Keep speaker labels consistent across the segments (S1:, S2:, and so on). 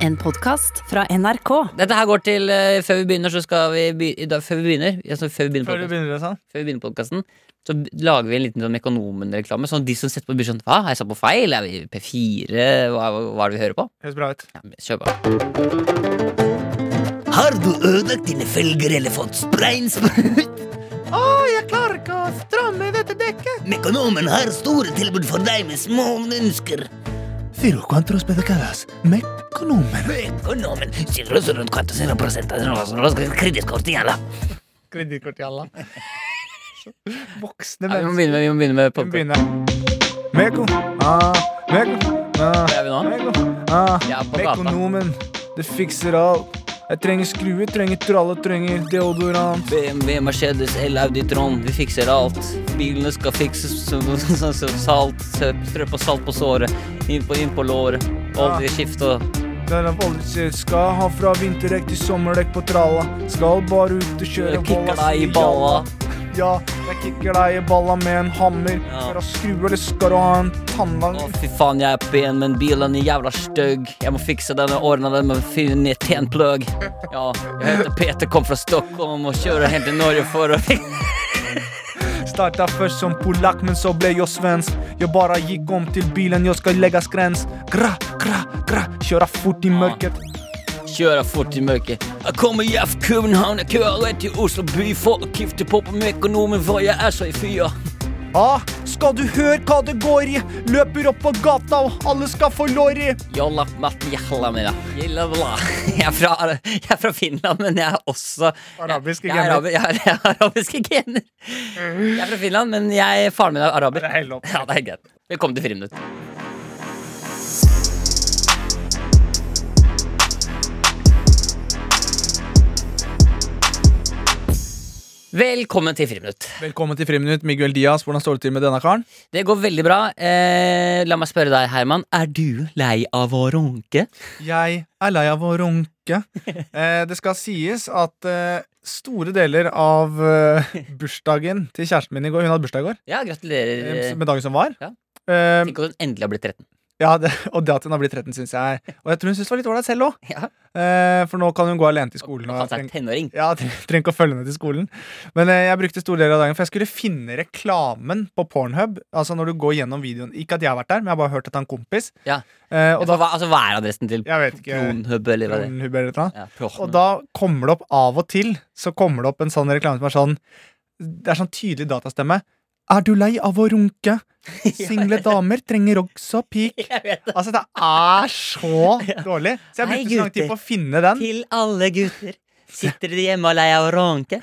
S1: En podkast fra NRK.
S2: Dette her går til eh, Før vi begynner, så skal vi be, i dag, Før vi begynner altså, Før vi begynner
S3: Før du
S2: podcasten,
S3: begynner, sånn.
S2: før vi begynner podcasten så b- lager vi en liten sånn Mekonomen-reklame. Sånn at de som setter på, blir sånn Hva, har jeg satt på feil? Er vi P4? Hva, hva er det vi hører på?
S3: Høres bra ut.
S2: Ja, kjør på. Har du ødelagt dine felger eller fått spreinsprut?
S3: Å, jeg klarer ikke å stramme i dette dekket.
S2: Mekonomen har store tilbud for deg med små ønsker.
S3: Ciro, cuantos pedecadas? Mekonomen.
S2: Mekonomen sitter også rundt 40 kritisk kortiala.
S3: Kredittkort til alle. Så Voksne
S2: Ja, vi må
S3: mennesker.
S2: begynne med, vi må begynne med
S3: Vi
S2: podkast.
S3: begynner. Meko. Ah, meko. Ah,
S2: Hvor er vi nå?
S3: meko. Ah,
S2: Ja, på gata.
S3: mekonomen. Det fikser alt. Jeg trenger skrue, trenger tralle, trenger deodorant.
S2: BMW, Mercedes, El Audi, Trond. Vi fikser alt. Bilene skal fikses som som- som salt. Strø på salt på såret. Inn på, inn på låret. Olje, skift og
S3: Der er voldtid. Skal ha fra vinterdekk til sommerdekk på tralla. Skal bare ut og
S2: Kikker
S3: kjøre bolla,
S2: deg i
S3: si
S2: balla.
S3: Ja, jeg kicker deg i balla med en hammer.
S2: Ja.
S3: Skal du ha skrue, eller skal du ha en tannlang?
S2: Å, fy faen, jeg er pen, men bilen er jævla stygg. Jeg må fikse den og ordne den med å finne ned til en plugg. Ja, jeg heter Peter, kom fra Stockholm og kjører helt til Norge for å
S3: Starta først som polakk, men så ble jeg svensk. Jeg bare gikk om til bilen, jeg skal legge skrens. Gra, gra, gra. Kjøre fort i mørket.
S2: kjøre fort i mørket. Jeg kommer hjem fra København, jeg kjører til Oslo by for å kifte på på Mekonomen, for jeg er så i fyra.
S3: Ah, skal du høre hva det går i? Løper opp på gata, og alle skal få lår i.
S2: Jolla Matti Jallamina. Jilla bla. Jeg er, fra, jeg er fra Finland, men jeg er også
S3: Arabiske
S2: jeg, jeg er
S3: gener.
S2: arabi- Jeg har jeg har arabiske gener. Jeg er fra Finland, men jeg, faren min er araber.
S3: Det er helt opp.
S2: Ja, det er greit. Velkommen til Friminutt. Velkommen til Friminutt.
S3: Velkommen til Friminutt, Miguel Diaz. Hvordan står det til med denne karen?
S2: Det går veldig bra. Eh, la meg spørre deg, Herman. Er du lei av å runke?
S3: Jeg er lei av å runke. Eh, det skal sies at eh, store deler av eh, bursdagen til kjæresten min i går Hun hadde bursdag i går,
S2: Ja,
S3: eh,
S2: gratulerer.
S3: med dagen som var.
S2: Ja.
S3: Eh,
S2: Tenk at hun endelig har blitt 13.
S3: ja, det, og det at hun har blitt 13, syns jeg Og jeg tror hun syns det var litt ålreit selv òg.
S2: Ja.
S3: Eh, for nå kan hun gå alene til skolen.
S2: Og
S3: Og
S2: han
S3: jeg
S2: seg
S3: treng,
S2: tenåring.
S3: ja, jeg trenger ikke å følge henne til skolen. Men eh, jeg brukte store deler av dagen, for jeg skulle finne reklamen på Pornhub. Altså når du går gjennom videoen Ikke at jeg har vært der, men jeg har bare hørt at han kompis.
S2: Ja.
S3: Eh, og
S2: Altså,
S3: da
S2: hva, altså, hva er adressen til
S3: Jeg vet ikke.
S2: Pornhub, eller hva det er?
S3: Pornhub eller noe.
S2: Ja, Pornhub.
S3: Og da kommer det opp av og til Så kommer det opp en sånn reklame som er sånn Det er sånn tydelig datastemme Er du lei av å runke? Single damer trenger også pik
S2: Jeg vet det.
S3: Altså det er så dårlig Så
S2: Hei,
S3: jeg brukte så lang
S2: gutter.
S3: tid på å finne den
S2: Til alle gutter. Sitter de hjemme og er lei av å ronke?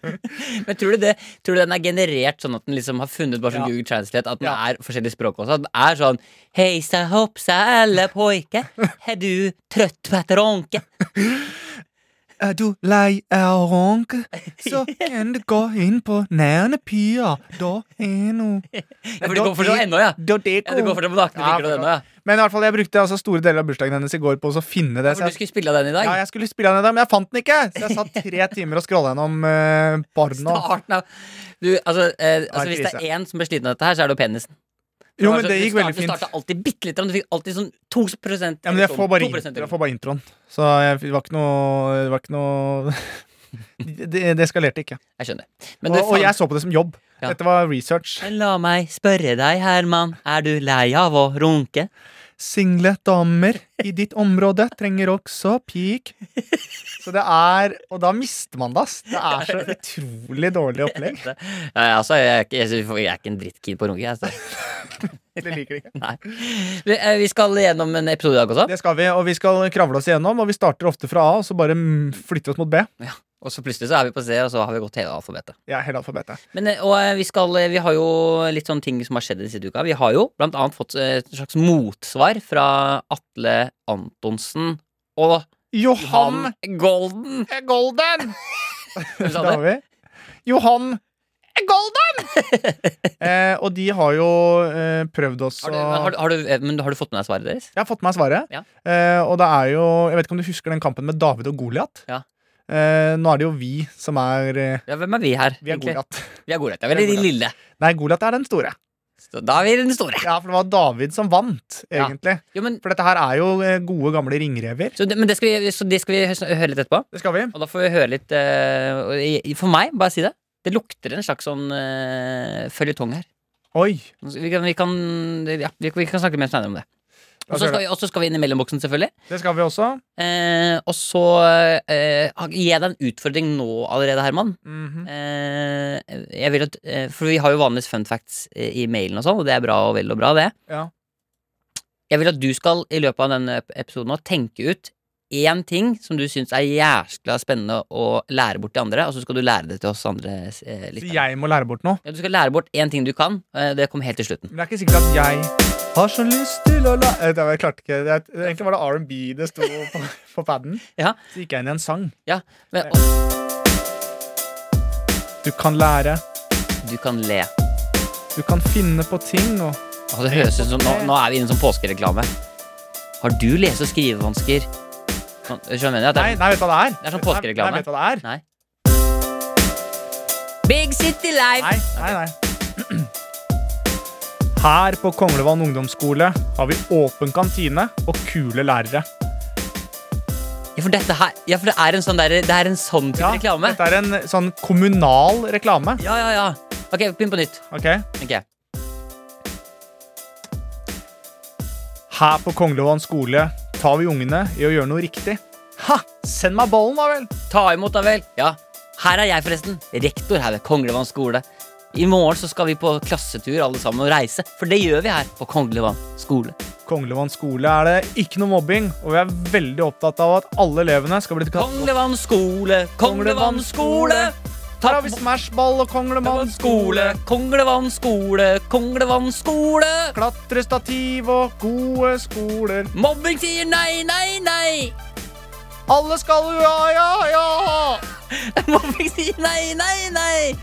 S2: Men tror du, det, tror du den er generert sånn at den liksom har funnet bare sånn
S3: Ja.
S2: Google Translate at den
S3: Ja.
S2: er forskjellige språk også? At den er sånn Heisa hoppsa alle poike, er du trøtt på et ronke?
S3: Er du lei av å runke? Så kan du gå inn på nærende pier Da er no
S2: Ja, for det går fortsatt ennå, ja.
S3: Da det
S2: ja. Du går
S3: går
S2: fortsatt på nakken,
S3: Ja,
S2: liker du ennå, ja.
S3: Men i hvert fall jeg brukte altså store deler av bursdagen hennes i går På å så finne det så
S2: For
S3: jeg-
S2: du skulle spille av den i dag?
S3: Ja, jeg skulle spille den i dag, men jeg fant den ikke! Så jeg satt tre timer og scrolla gjennom uh, barna.
S2: Starten av Du, altså, eh, altså
S3: det er
S2: hvis det
S3: krise.
S2: er én som blir sliten av dette her, så er det jo penisen.
S3: Jo,
S2: var
S3: men
S2: sånn-
S3: det
S2: du
S3: gikk
S2: start-
S3: veldig
S2: Du
S3: fint.
S2: starta alltid bitte litt, men du fikk alltid sånn 2
S3: Ja, men jeg får bare, in-
S2: 2%
S3: jeg får bare introen. Så jeg, det var ikke noe Det, var ikke noe det, det eskalerte ikke.
S2: Jeg skjønner. Men
S3: Og,
S2: du
S3: og
S2: fant-
S3: jeg så på det som jobb.
S2: Ja.
S3: Dette var research.
S2: Men la meg spørre deg, Herman, er du lei av å runke?
S3: Single damer i ditt område trenger også peak. Så det er Og da mister man det, ass. Det er så utrolig dårlig opplegg.
S2: Ja, ja, altså, jeg, er ikke- jeg, jeg er ikke en drittkid på å runke, jeg. Altså.
S3: Det liker det ikke.
S2: Nei. Vi, eh, vi skal gjennom en episode i dag også,
S3: Det skal vi, og vi skal kravle oss igjennom. Og vi starter ofte fra A, og så bare mm, flytter oss mot B.
S2: og så plutselig så er vi på C, og så har vi gått hele alfabetet.
S3: Ja, hele alfabetet.
S2: Men, eh, og eh, vi, skal, eh, vi har jo litt sånne ting som har skjedd i siste uka. Vi har jo blant annet fått eh, et slags motsvar fra Atle Antonsen og
S3: Johan
S2: Johan Golden.
S3: Golden!
S2: Hvem
S3: Da
S2: sa
S3: har
S2: det?
S3: vi Johan Golden! eh, og de har jo eh, prøvd også
S2: Har du, har, du- har, du, eh, men har du fått med deg svaret deres?
S3: Jeg har fått med meg svaret.
S2: Ja.
S3: Eh, og det er jo Jeg vet ikke om du husker den kampen med David og Goliat?
S2: Ja.
S3: Eh, nå er det jo vi som er eh,
S2: Ja, hvem er vi her?
S3: Vi er
S2: egentlig?
S3: Goliat.
S2: Vi er Goliat. Ja, eller de
S3: Goliat.
S2: lille.
S3: Nei, Goliat er den store.
S2: Så da er vi den store.
S3: Ja, for det var David som vant,
S2: Ja.
S3: egentlig.
S2: Jo, men,
S3: For dette her er jo eh, gode, gamle ringrever.
S2: så det, men det skal vi, så det skal vi hø- høre litt etterpå.
S3: Det skal vi.
S2: Og da får vi høre litt eh, og i- For meg, bare si det, det lukter en slags sånn uh, føljetong her. Altså,
S3: Oi.
S2: Vi kan, vi, kan, ja, vi, vi kan snakke mer senere om det.
S3: La
S2: Og
S3: oss
S2: så
S3: gjøre
S2: skal, vi- og så skal vi inn i mellomboksen, selvfølgelig.
S3: Det skal vi også.
S2: Eh, og så eh, gir jeg deg en utfordring nå allerede, Herman.
S3: Mhm.
S2: Eh, jeg vil at, eh, for vi har jo vanligvis fun facts eh, i mailen og sånn, og det er bra og vel og bra, det.
S3: Ja.
S2: Jeg vil at du skal i løpet av denne ep- episoden nå tenke ut én ting som du syns er jæskla spennende å lære bort til andre, og så skal du lære det til oss andre. Eh, litt.
S3: Så jeg må lære bort noe.
S2: Ja, du skal lære bort én ting du kan. Eh, det kom helt til slutten.
S3: Men det er ikke sikkert at jeg har så lyst til å la Eh, det var- Jeg klarte ikke det, er- Egentlig var det R&B det sto på, på paden.
S2: Ja.
S3: Så gikk jeg inn i en sang.
S2: Ja, men,
S3: Ja.
S2: og
S3: Du kan lære,
S2: du kan le.
S3: du kan finne på ting og
S2: Og det høres ut som nå, nå er vi inne i en sånn påskereklame. Har du lese- og skrivevansker? Sånn, skjønner du hva jeg mener? At det er-
S3: Nei, nei vet du hva det er?
S2: Det er sånn
S3: Nei,
S2: påskereklame.
S3: Nei, vet du hva det er?
S2: Nei. Big City Life!
S3: Nei, nei, nei. Her på Konglevann ungdomsskole har vi åpen kantine og kule lærere.
S2: Ja, for dette her Ja, for det er en sånn der, Det er en sånn type reklame.
S3: Dette er en sånn kommunal reklame.
S2: Ja, ja, ja. Ok, begynn på nytt.
S3: Ok?
S2: Ok
S3: Her på Konglevann skole tar vi ungene i å gjøre noe riktig. Ha! Send meg ballen, da vel!
S2: Ta imot, da vel. Ja. Her er jeg, forresten. Rektor her ved Konglevann skole. I morgen så skal vi på klassetur alle sammen og reise, for det gjør vi her på Konglevann skole.
S3: Konglevann skole er det ikke noe mobbing, og vi er veldig opptatt av at alle elevene skal bli tatt opp.
S2: Konglevann skole, Konglevann skole.
S3: Her har vi smashball og Konglemann
S2: Konglevann skole,
S3: skole.
S2: Konglevann skole, Konglevann skole.
S3: Klatrestativ og gode skoler.
S2: Mobbing sier nei, nei, nei.
S3: Alle skal ja, ja, ja!
S2: Mobbing sier nei, nei, nei.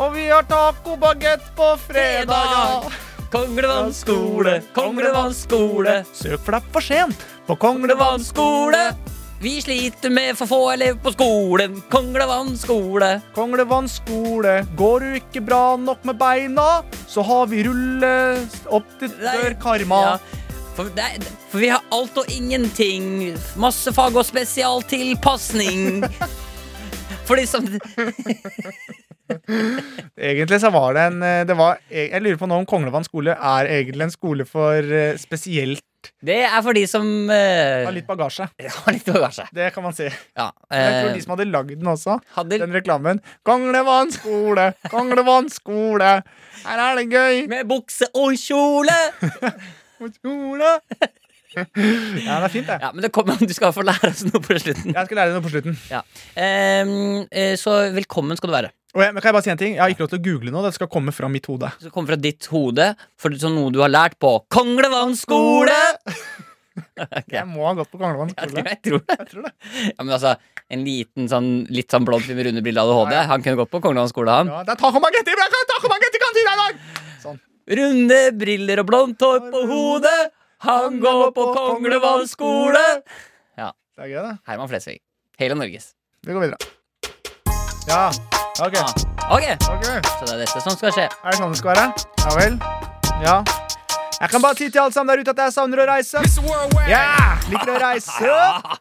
S3: Og vi har tacobagett på fredag! ja.
S2: Konglevann skole, Konglevann skole,
S3: Søk, for det er for sent på
S2: Konglevann
S3: Konglevann
S2: skole.
S3: skole.
S2: Vi sliter med for få elever på skolen. Konglevann skole.
S3: Konglevann skole, går du ikke bra nok med beina, så har vi rulle opp til dør karma.
S2: Ja, For, det er, for vi har alt og ingenting. Masse fag og spesialtilpasning. For de som
S3: Egentlig så var det en eh, det var, Jeg jeg lurer på nå om Konglevann skole er egentlig en skole for eh, spesielt
S2: Det er for de som eh,
S3: Har litt bagasje.
S2: har litt bagasje.
S3: Det kan man si.
S2: Ja,
S3: Jeg tror
S2: eh,
S3: de som hadde lagd den også,
S2: hadde
S3: den reklamen. Konglevann skole, Konglevann skole, her er det gøy.
S2: med bukse og kjole.
S3: på Skole. Ja, det er fint, det.
S2: Ja, men det kommer, du skal få lære oss noe på slutten.
S3: Jeg skal lære deg noe på slutten.
S2: Ja. Ehm, eh, så velkommen skal du være.
S3: Og jeg, men kan jeg bare si en ting? Jeg har ikke lov til å google nå. Det skal komme fra mitt hode.
S2: Så kommer fra ditt hode for sånn noe du har lært på Konglevann skole.
S3: Jeg må ha gått på Konglevann
S2: Jeg tror,
S3: skole.
S2: jeg tror.
S3: Jeg tror det.
S2: Ja, men altså, en liten sånn, litt sånn blond fyr med runde briller og ADHD,
S3: Ja, ja.
S2: han kunne gått på Konglevann skole, han.
S3: Ja, det er tacomagetti i kantina i dag! Sånn.
S2: Runde briller og blondt hår på hodet, han går på Konglevann skole. Ja.
S3: Det er gøy, det.
S2: Herman Flesvig. Hele Norges.
S3: Vi går videre. Ja. Ok.
S2: Ja. Ok,
S3: ok.
S2: så det er dette som skal skje.
S3: Er det sånn det skal være? Ja vel? Ja. Jeg kan bare si til alle sammen der ute at jeg savner å reise. Ja! Liker å reise.
S2: Ah,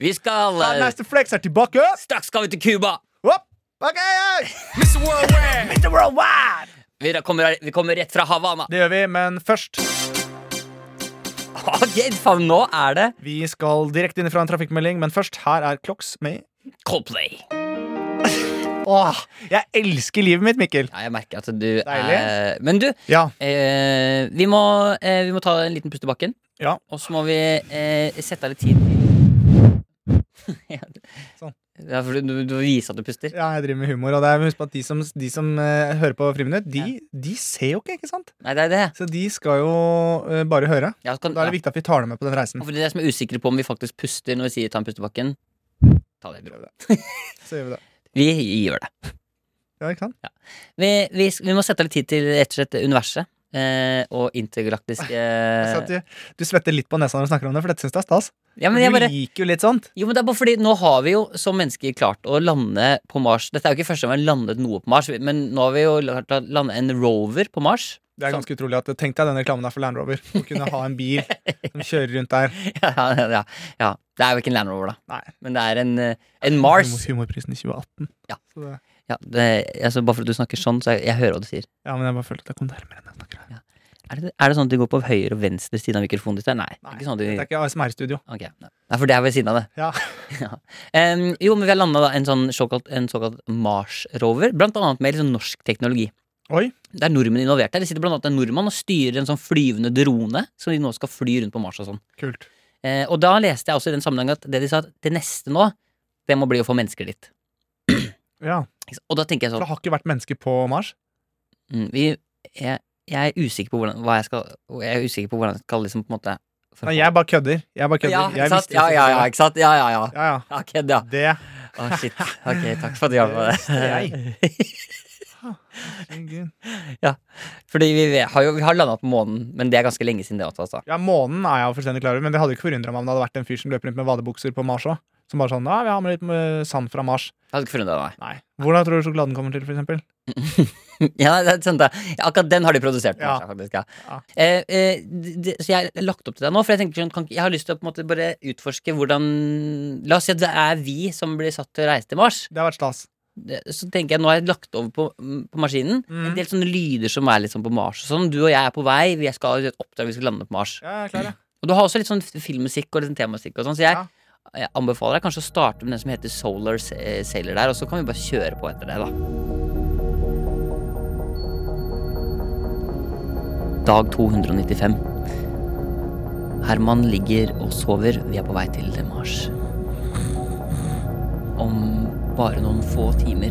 S2: vi skal
S3: Ja,
S2: eh,
S3: Nice to flex er tilbake.
S2: Straks skal vi til Cuba.
S3: Hopp. Ok, ja.
S2: Mr. Worldwide! Vi kommer, vi kommer rett fra Havana.
S3: Det gjør vi, men først
S2: Ok, faen, nå er det
S3: Vi skal direkte inn fra en trafikkmelding, men først, her er Clocks med
S2: Coldplay.
S3: Åh, jeg elsker livet mitt, Mikkel.
S2: Ja, jeg merker at du er
S3: Deilig.
S2: Men du,
S3: Ja.
S2: eh, vi, må, eh, vi må ta en liten pust i bakken.
S3: Ja.
S2: Og så må vi eh, sette av litt tid. Ja, du-
S3: Sånn.
S2: Ja, for du, du viser at du puster.
S3: Ja, jeg driver med humor, og det er, husk på at de som, de som eh, hører på Friminutt, de, de ser jo ikke, ikke sant?
S2: Nei, det er det.
S3: Så de skal jo eh, bare høre.
S2: Ja, så kan,
S3: Da er
S2: ja.
S3: det viktig at vi tar dem med på den reisen.
S2: Og For de som er usikre på om vi faktisk puster når vi sier ta en pust i bakken, ta det.
S3: Så gjør vi det.
S2: Vi gjør det.
S3: Ja, ikke sant?
S2: Vi, vi, vi må sette av litt tid til rett og slett universet. Eh, og intergalaktiske
S3: Jeg ser at du, du svetter litt på nesa når du snakker om det, for dette syns jeg er stas.
S2: Eh. ja, men jeg
S3: du
S2: bare,
S3: liker jo litt sånt.
S2: Jo, men det er bare fordi Nå har vi jo som mennesker klart å lande på Mars. Dette er jo ikke første gang vi har landet noe på Mars, men nå har vi jo klart å lande en rover på Mars.
S3: Det er ganske utrolig at Tenk deg den reklamen der for Land Rover. Å kunne ha en bil som kjører rundt der.
S2: ja, ja, ja. Det er jo ikke en Land Rover, da.
S3: Nei.
S2: Men det er en, eh, en Mars.
S3: Humor- Humorprisen i 2018.
S2: Ja.
S3: Så det,
S2: Ja, det, altså, bare for at du snakker sånn, så jeg, jeg hører hva du sier.
S3: ja, men jeg bare følte at jeg kom nærmere enn jeg snakker.
S2: Er det, er det sånn at de går på høyre og venstre siden av mikrofonen ditt? der? Nei.
S3: Nei,
S2: ikke sånn at
S3: Det
S2: de,
S3: er ikke ASMR-studio.
S2: ok, nei. nei, for det er ved siden av det.
S3: Ja.
S2: Ja. Em, jo, men vi har landa en sånn såkalt, en såkalt Mars-rover, blant annet med litt sånn norsk teknologi.
S3: Oi.
S2: Det er nordmenn involvert der. Det sitter blant annet en nordmann og styrer en sånn flyvende drone som de nå skal fly rundt på Mars og sånn.
S3: Kult.
S2: Eh, og da leste jeg også i den sammenheng at det de sa at det neste nå, det må bli å få mennesker dit.
S3: Ja.
S2: Ikke sant? Og da tenker jeg
S3: For
S2: sånn
S3: det har ikke vært mennesker på Mars.
S2: mm, vi, jeg, jeg er usikker på hvordan hva jeg skal Jeg er usikker på hvordan jeg skal liksom på en måte
S3: Nei, jeg bare kødder. Jeg bare kødder.
S2: ja,
S3: jeg
S2: ikke sant?
S3: visste
S2: ja, ja,
S3: jo
S2: ja,
S3: selvfølgelig-
S2: ikke sant? Ja, ja, ja.
S3: ja, ja.
S2: Ja, kødd, ja.
S3: Det
S2: Å, shit. Ok, takk for at du hjalp meg med det. Fordi vi vet- har jo vi har landa på månen, men det er ganske lenge siden det også, altså.
S3: Ja, månen er jeg jo fullstendig klar over, men det hadde ikke forundra meg om det hadde vært en fyr som løper rundt med vadebukser på Mars òg. Som bare sånn Ja, vi har med litt eh, sand fra Mars.
S2: Jeg hadde ikke forundra meg.
S3: Nei. Hvordan tror du sjokoladen kommer til, for eksempel?
S2: Ja, det er sant det. Ja, akkurat den har de produsert. på
S3: Ja.
S2: Mars, faktisk, ja.
S3: Ja.
S2: Eh, eh, d- d- så jeg har lagt opp til deg nå, for jeg, tenker, sånn, kan, ikke- jeg har lyst til å på en måte bare utforske hvordan La oss si at det er vi som blir satt til å reise til Mars.
S3: Det har vært stas.
S2: Det- Så tenker jeg, Nå har jeg lagt over på, på maskinen
S3: Mm.
S2: en del sånne lyder som er litt sånn på Mars. og sånn. Du og jeg er på vei, vi skal ha et oppdrag, vi skal lande på Mars.
S3: Ja, jeg er klar, jeg.
S2: Og du har også litt sånn filmmusikk og litt sånn temamusikk og sånn, så jeg,
S3: Ja.
S2: jeg anbefaler deg kanskje å starte med den som heter Solar S- eh, Sailor der, og så kan vi bare kjøre på etter det, da. Dag 295. Herman ligger og sover. Vi er på vei til Mars. Om bare noen få timer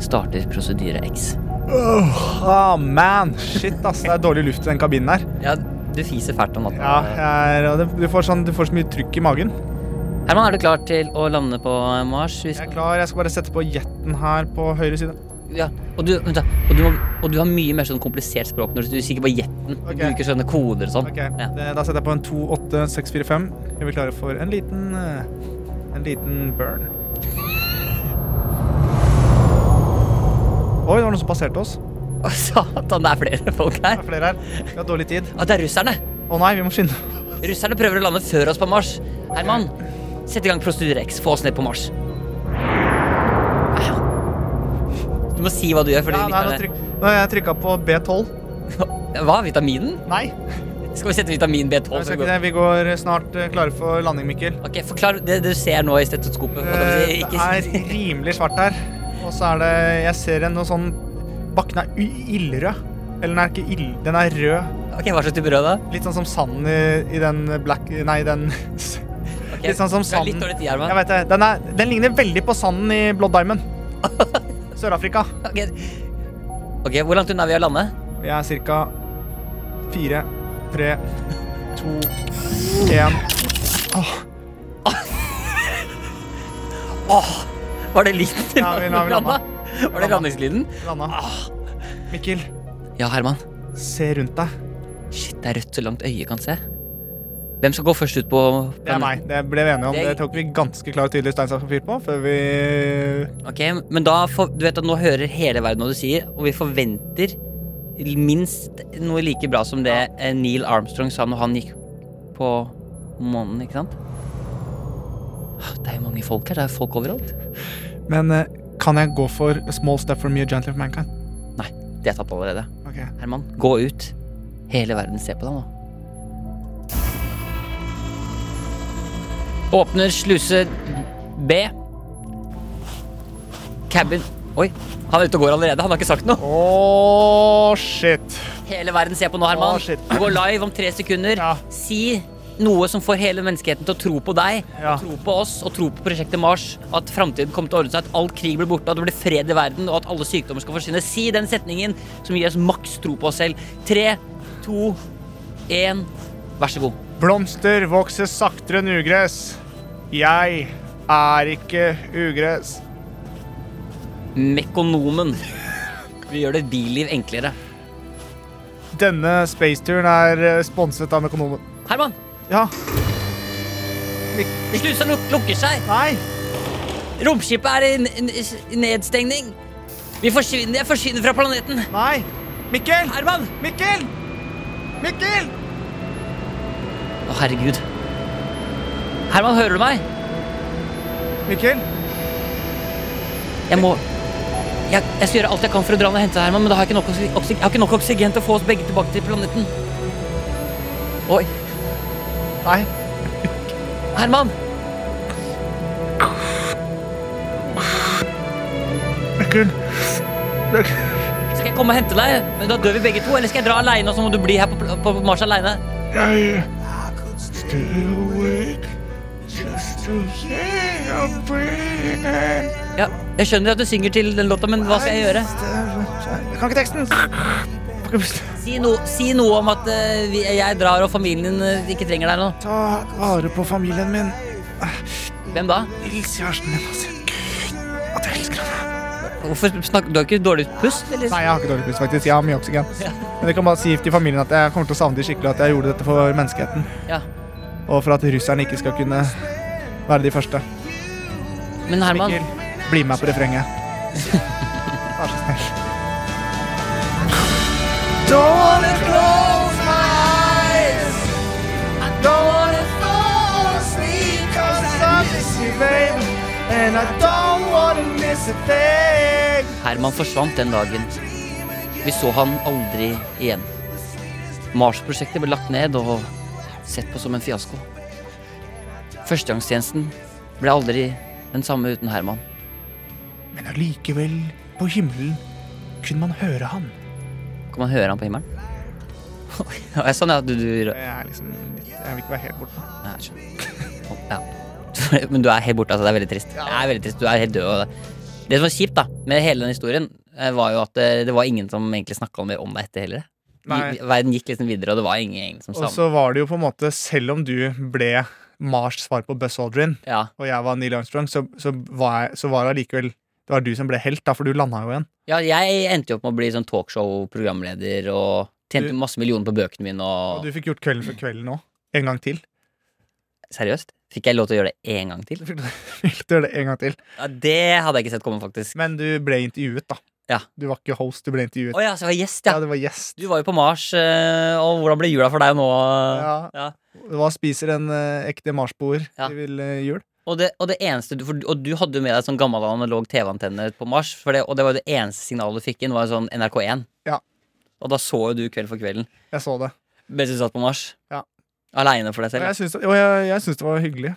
S2: starter prosedyre X.
S3: Åh, ah, man! Shit, ass. Det er dårlig luft i den kabinen her.
S2: Ja, du fiser fælt om natten.
S3: Ja, jeg er, og det- du, får sånn, du får så mye trykk i magen.
S2: Herman, er du klar til å lande på Mars? Vi
S3: Jeg er klar. Jeg skal bare sette på jeten her på høyre side.
S2: Ja, og du, vent da, og du, har, og du har mye mer sånn komplisert språk når du sikkert bare gjetten.
S3: Ok.
S2: Du bruker sånne koder og sånn.
S3: Ok,
S2: Ja.
S3: det, Da setter jeg på en 28645. Er vi klare for en liten eh, En liten burn. Oi, det var noen som passerte oss.
S2: Å, satan, det er flere folk
S3: Det
S2: her.
S3: er flere her. Vi har dårlig tid.
S2: Å, det er russerne!
S3: Å nei, vi må skynde
S2: Russerne prøver å lande før oss på Mars. Herman, sett i gang Prosedyre X. Få oss ned på Mars. Du må si hva du gjør. for de
S3: Ja, nei, nå,
S2: lytterne-
S3: tryk, nå har jeg trykka på B12.
S2: Hva? Vitaminen?
S3: Nei.
S2: Skal vi sette vitamin B12? som
S3: Vi, skal
S2: går-
S3: ikke det. vi går snart eh, klare for landing, Mikkel.
S2: Ok, Forklar det du ser nå i stetoskopet.
S3: Eh,
S2: holdt jeg
S3: Det
S2: på å si.
S3: er
S2: Ikke-
S3: rimelig svart her. Og så er det Jeg ser en noe sånn Bakken er u- ildrød. Eller den er ikke ild... Den er rød.
S2: Ok, Hva slags type brød, da?
S3: Litt sånn som sanden i, i den black Nei, den
S2: Ok,
S3: Litt sånn som
S2: du har Litt
S3: sanden.
S2: dårlig tid, Herman.
S3: Jeg vet det. Den, er, den ligner veldig på sanden i Blood Diamond. Sør-Afrika.
S2: Ok. ok, Hvor langt unna er vi å lande?
S3: Vi er ca. fire, tre, to, én
S2: Åh, var det lyden?
S3: Ja, vi- nå har vi landet.
S2: Var det landingslyden?
S3: Landa. Mikkel,
S2: Ja, Herman.
S3: se rundt deg.
S2: Shit, det er rødt så langt øyet kan se. Hvem skal gå først ut på
S3: Det er meg. Det ble vi enige om.
S2: Det-
S3: Det tok vi ganske klar og tydelig stein, saks, papir på før vi
S2: Ok, men da får, du vet at nå hører hele verden hva du sier, og vi forventer minst noe like bra som det eh, Neil Armstrong sa når han gikk på månen, ikke sant? Ah, Det er jo mange folk her. Det er jo folk overalt.
S3: Men eh, kan jeg gå for a small step for me, a gently for mankind?
S2: Det er tatt allerede.
S3: Ok.
S2: Herman, gå ut. Hele verden ser på deg nå. Åpner sluse B. Cabin Oi, han er ute og går allerede. Han har ikke sagt noe.
S3: Åh, shit.
S2: Hele verden ser på nå, Herman.
S3: Å, shit.
S2: Du går live om tre sekunder.
S3: Ja.
S2: Si noe som får hele menneskeheten til å tro på deg,
S3: Ja.
S2: og tro på oss og tro på prosjektet Mars. At framtiden kommer til å ordne seg, at all krig blir borte, at det blir fred i verden, og at alle sykdommer skal forsvinne. Si den setningen som gir oss maks tro på oss selv. Tre, to, én, vær så god.
S3: Blomster vokser saktere enn ugress. Jeg er ikke ugress.
S2: Mekonomen. Vi gjør det billiv enklere.
S3: Denne spaceturen er eh, sponset av Mekonomen.
S2: Herman,
S3: Ja.
S2: slusa luk lukker seg.
S3: Nei!
S2: Romskipet er i n- n- nedstengning. Vi forsvinner, jeg forsvinner fra planeten.
S3: Nei! Mikkel!
S2: Herman!
S3: Mikkel! Mikkel!
S2: Å, herregud. Herman, hører du meg?
S3: Mikkel!
S2: Jeg må jeg, jeg skal gjøre alt jeg kan for å dra ned og hente Herman, men da har jeg ikke nok, oksy- oksy- jeg har ikke nok oksygen til å få oss begge tilbake til planeten. Oi.
S3: Nei.
S2: Herman!
S3: Mikkel!
S2: Skal jeg komme og hente deg? Men da dør vi begge to. Eller skal jeg dra aleine, og så må du bli her på, pl- på, på Mars aleine?
S3: Jeg Stay awake just to hear your breathing.
S2: Ja, jeg skjønner at du synger til den låta, men hva skal jeg gjøre?
S3: Jeg kan ikke teksten.
S2: Si, no, si noe om at eh, vi, jeg drar og familien eh, ikke trenger deg nå.
S3: Ta vare på familien min.
S2: Hvem da?
S3: Hils kjæresten din og si at jeg elsker henne.
S2: Hvorfor snakker Du har ikke dårlig pust, eller?
S3: Nei, jeg har ikke dårlig puls, faktisk. Jeg har mye oksygen. Men jeg kan bare si til familien at jeg kommer til å savne dem skikkelig, og at jeg gjorde dette for menneskeheten.
S2: Ja.
S3: Og for at russerne ikke skal kunne være de første.
S2: Men Herman,
S3: Mikkel, bli med meg på refrenget. Vær så snill. Don't close my eyes. I don't wanna fall asleep 'cause I miss you, baby. And I don't wanna miss a thing.
S2: Herman forsvant den dagen. Vi så han aldri igjen. Mars-prosjektet ble lagt ned og sett på som en fiasko. Førstegangstjenesten ble aldri den samme uten Herman.
S3: Men allikevel, på himmelen, kunne man høre han.
S2: Kan man høre han på himmelen? Ja, jeg sånn, ja. Du, du, ja,
S3: Jeg, er liksom, jeg vil ikke være helt borte.
S2: jeg skjønner. ja. Men du er helt borte, altså. Det er veldig trist. Det er veldig trist. Du er helt død. Og det. det som var kjipt da, med hele den historien, eh, var jo at eh, det var ingen som egentlig snakka mer om deg etter heller.
S3: Nei.
S2: Verden gikk liksom videre, og det var ingen egentlig som
S3: Og
S2: savna.
S3: så var det jo på en måte, selv om du ble Mars svar på Buzz Aldrin,
S2: Ja.
S3: og jeg var Neil Armstrong, så, så, var, jeg, så var det allikevel Det var du som ble helt, da, for du landa jo igjen.
S2: Ja, jeg endte jo opp med å bli sånn talkshow-programleder og tjente
S3: Du-
S2: masse millioner på bøkene mine
S3: Og
S2: og
S3: du fikk gjort Kvelden for kvelden òg. En gang til.
S2: Seriøst? Fikk jeg lov til å gjøre det én gang
S3: Du
S2: til?
S3: fikk fikk du gjøre det en gang til.
S2: Ja, det hadde jeg ikke sett komme, faktisk.
S3: Men du ble intervjuet, da.
S2: Ja.
S3: Du var ikke host, du ble intervjuet.
S2: Å ja, så jeg var gjest,
S3: ja.
S2: ja.
S3: du var gjest.
S2: Du var jo på Mars, eh, og hvordan ble jula for deg nå?
S3: Ja.
S2: Ja.
S3: Hva spiser en eh, ekte marsboer
S2: Ja.
S3: til eh, jul?
S2: Og det, og det eneste du, for, og du hadde jo med deg sånn gammel analog TV-antenne på Mars, for det, og det var jo det eneste signalet du fikk inn, var jo sånn NRK1.
S3: Ja.
S2: Og da så jo du Kveld for kvelden
S3: Jeg så det.
S2: mens du satt på Mars.
S3: Ja.
S2: Aleine for deg
S3: Og
S2: selv.
S3: jeg syns det, og jeg, jeg syns det var hyggelig.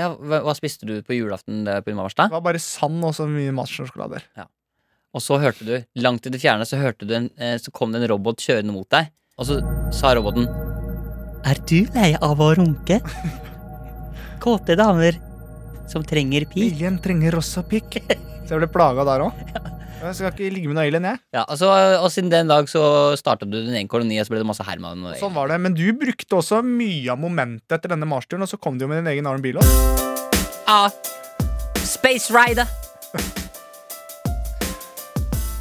S2: Ja, hva, hva spiste du på julaften eh, på Mars, da?
S3: Det var bare sand og så mye marsjsjokolader.
S2: Og så hørte du, langt i det fjerne, så, hørte du en, eh, så kom det en robot kjørende mot deg. Og så sa roboten Er du lei av å runke? Kåte damer som trenger pik.
S3: Alien trenger også pikk. Så jeg ble plaga der òg. Jeg skal ikke ligge med noe alien, jeg.
S2: Ja, altså, og siden den dag så starta du din egen koloni, og så ble det masse Herman. Og
S3: Sånn var det, Men du brukte også mye av momentet etter denne marsturen, og så kom du jo med din egen Aron Bilås.
S2: Ah, Space Rider.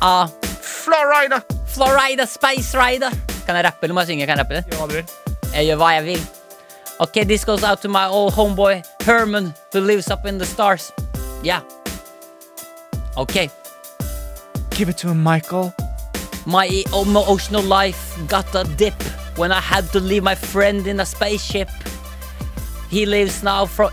S2: Ah,
S3: Florida!
S2: Florida Space Rider. Kan jeg rappe, eller må jeg synge? Kan jeg rappe det?
S3: Gjør hva du vil.
S2: Jeg gjør hva jeg vil. Ok, this goes out to my old homeboy Herman, who lives up in the stars. Yeah. Ok.
S3: Give it to him, Michael.
S2: My e- emotional life got a dip when I had to leave my friend in a spaceship. He lives now from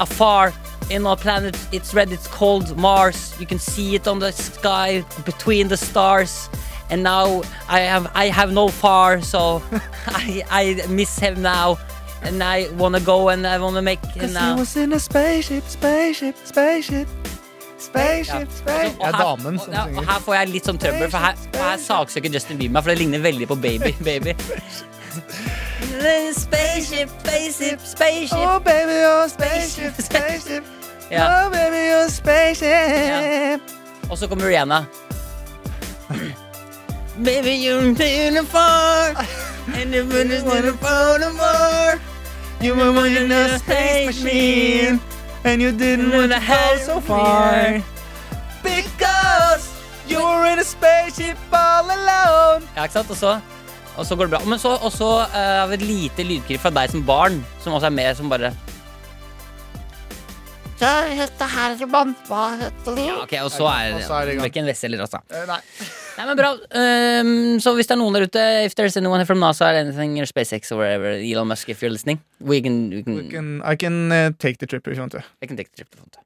S2: afar in our planet. It's red, it's called Mars. You can see it on the sky between the stars. And now I have I have no far, so I, I miss him now. And I wanna go and I wanna make him now.
S3: in a spaceship, spaceship, spaceship.
S2: Ja.
S3: Spaceship, spaceship.
S2: Altså, Og
S3: Det er
S2: her-
S3: damen som
S2: og, ja, og
S3: synger.
S2: her får jeg litt sånn trøbbel, for her, for her saksøker Justin Bieber meg, for det ligner veldig på Baby. baby. Spaceship, spaceship, spaceship.
S3: baby, oh
S2: spaceship, spaceship. Ja.
S3: Oh baby, oh spaceship.
S2: Og så kommer Rihanna. Baby, you're beautiful. And the moon is beautiful no more.
S3: You were in a space machine, and you didn't want to go so far. Because you were in a spaceship all alone.
S2: Ja, ikke sant? Og så, og så går det bra. Men så og så, eh, har vi et lite lydklipp fra deg som barn, som også er med, som bare
S4: Jeg heter Herman. Hva heter du?
S2: Ja, ok, Og så er
S3: Og så er det
S2: det
S3: i gang.
S2: ikke en veselger, altså.
S3: Eh, Nei.
S2: Nei, men bra. Ehm, så hvis det er noen der ute, if there's anyone from NASA or anything, or SpaceX or whatever, Elon Musk, if you're listening, we can, we can,
S3: We can, I can eh, take the trip. Skjønte. du.
S2: I can take the trip. Sånt.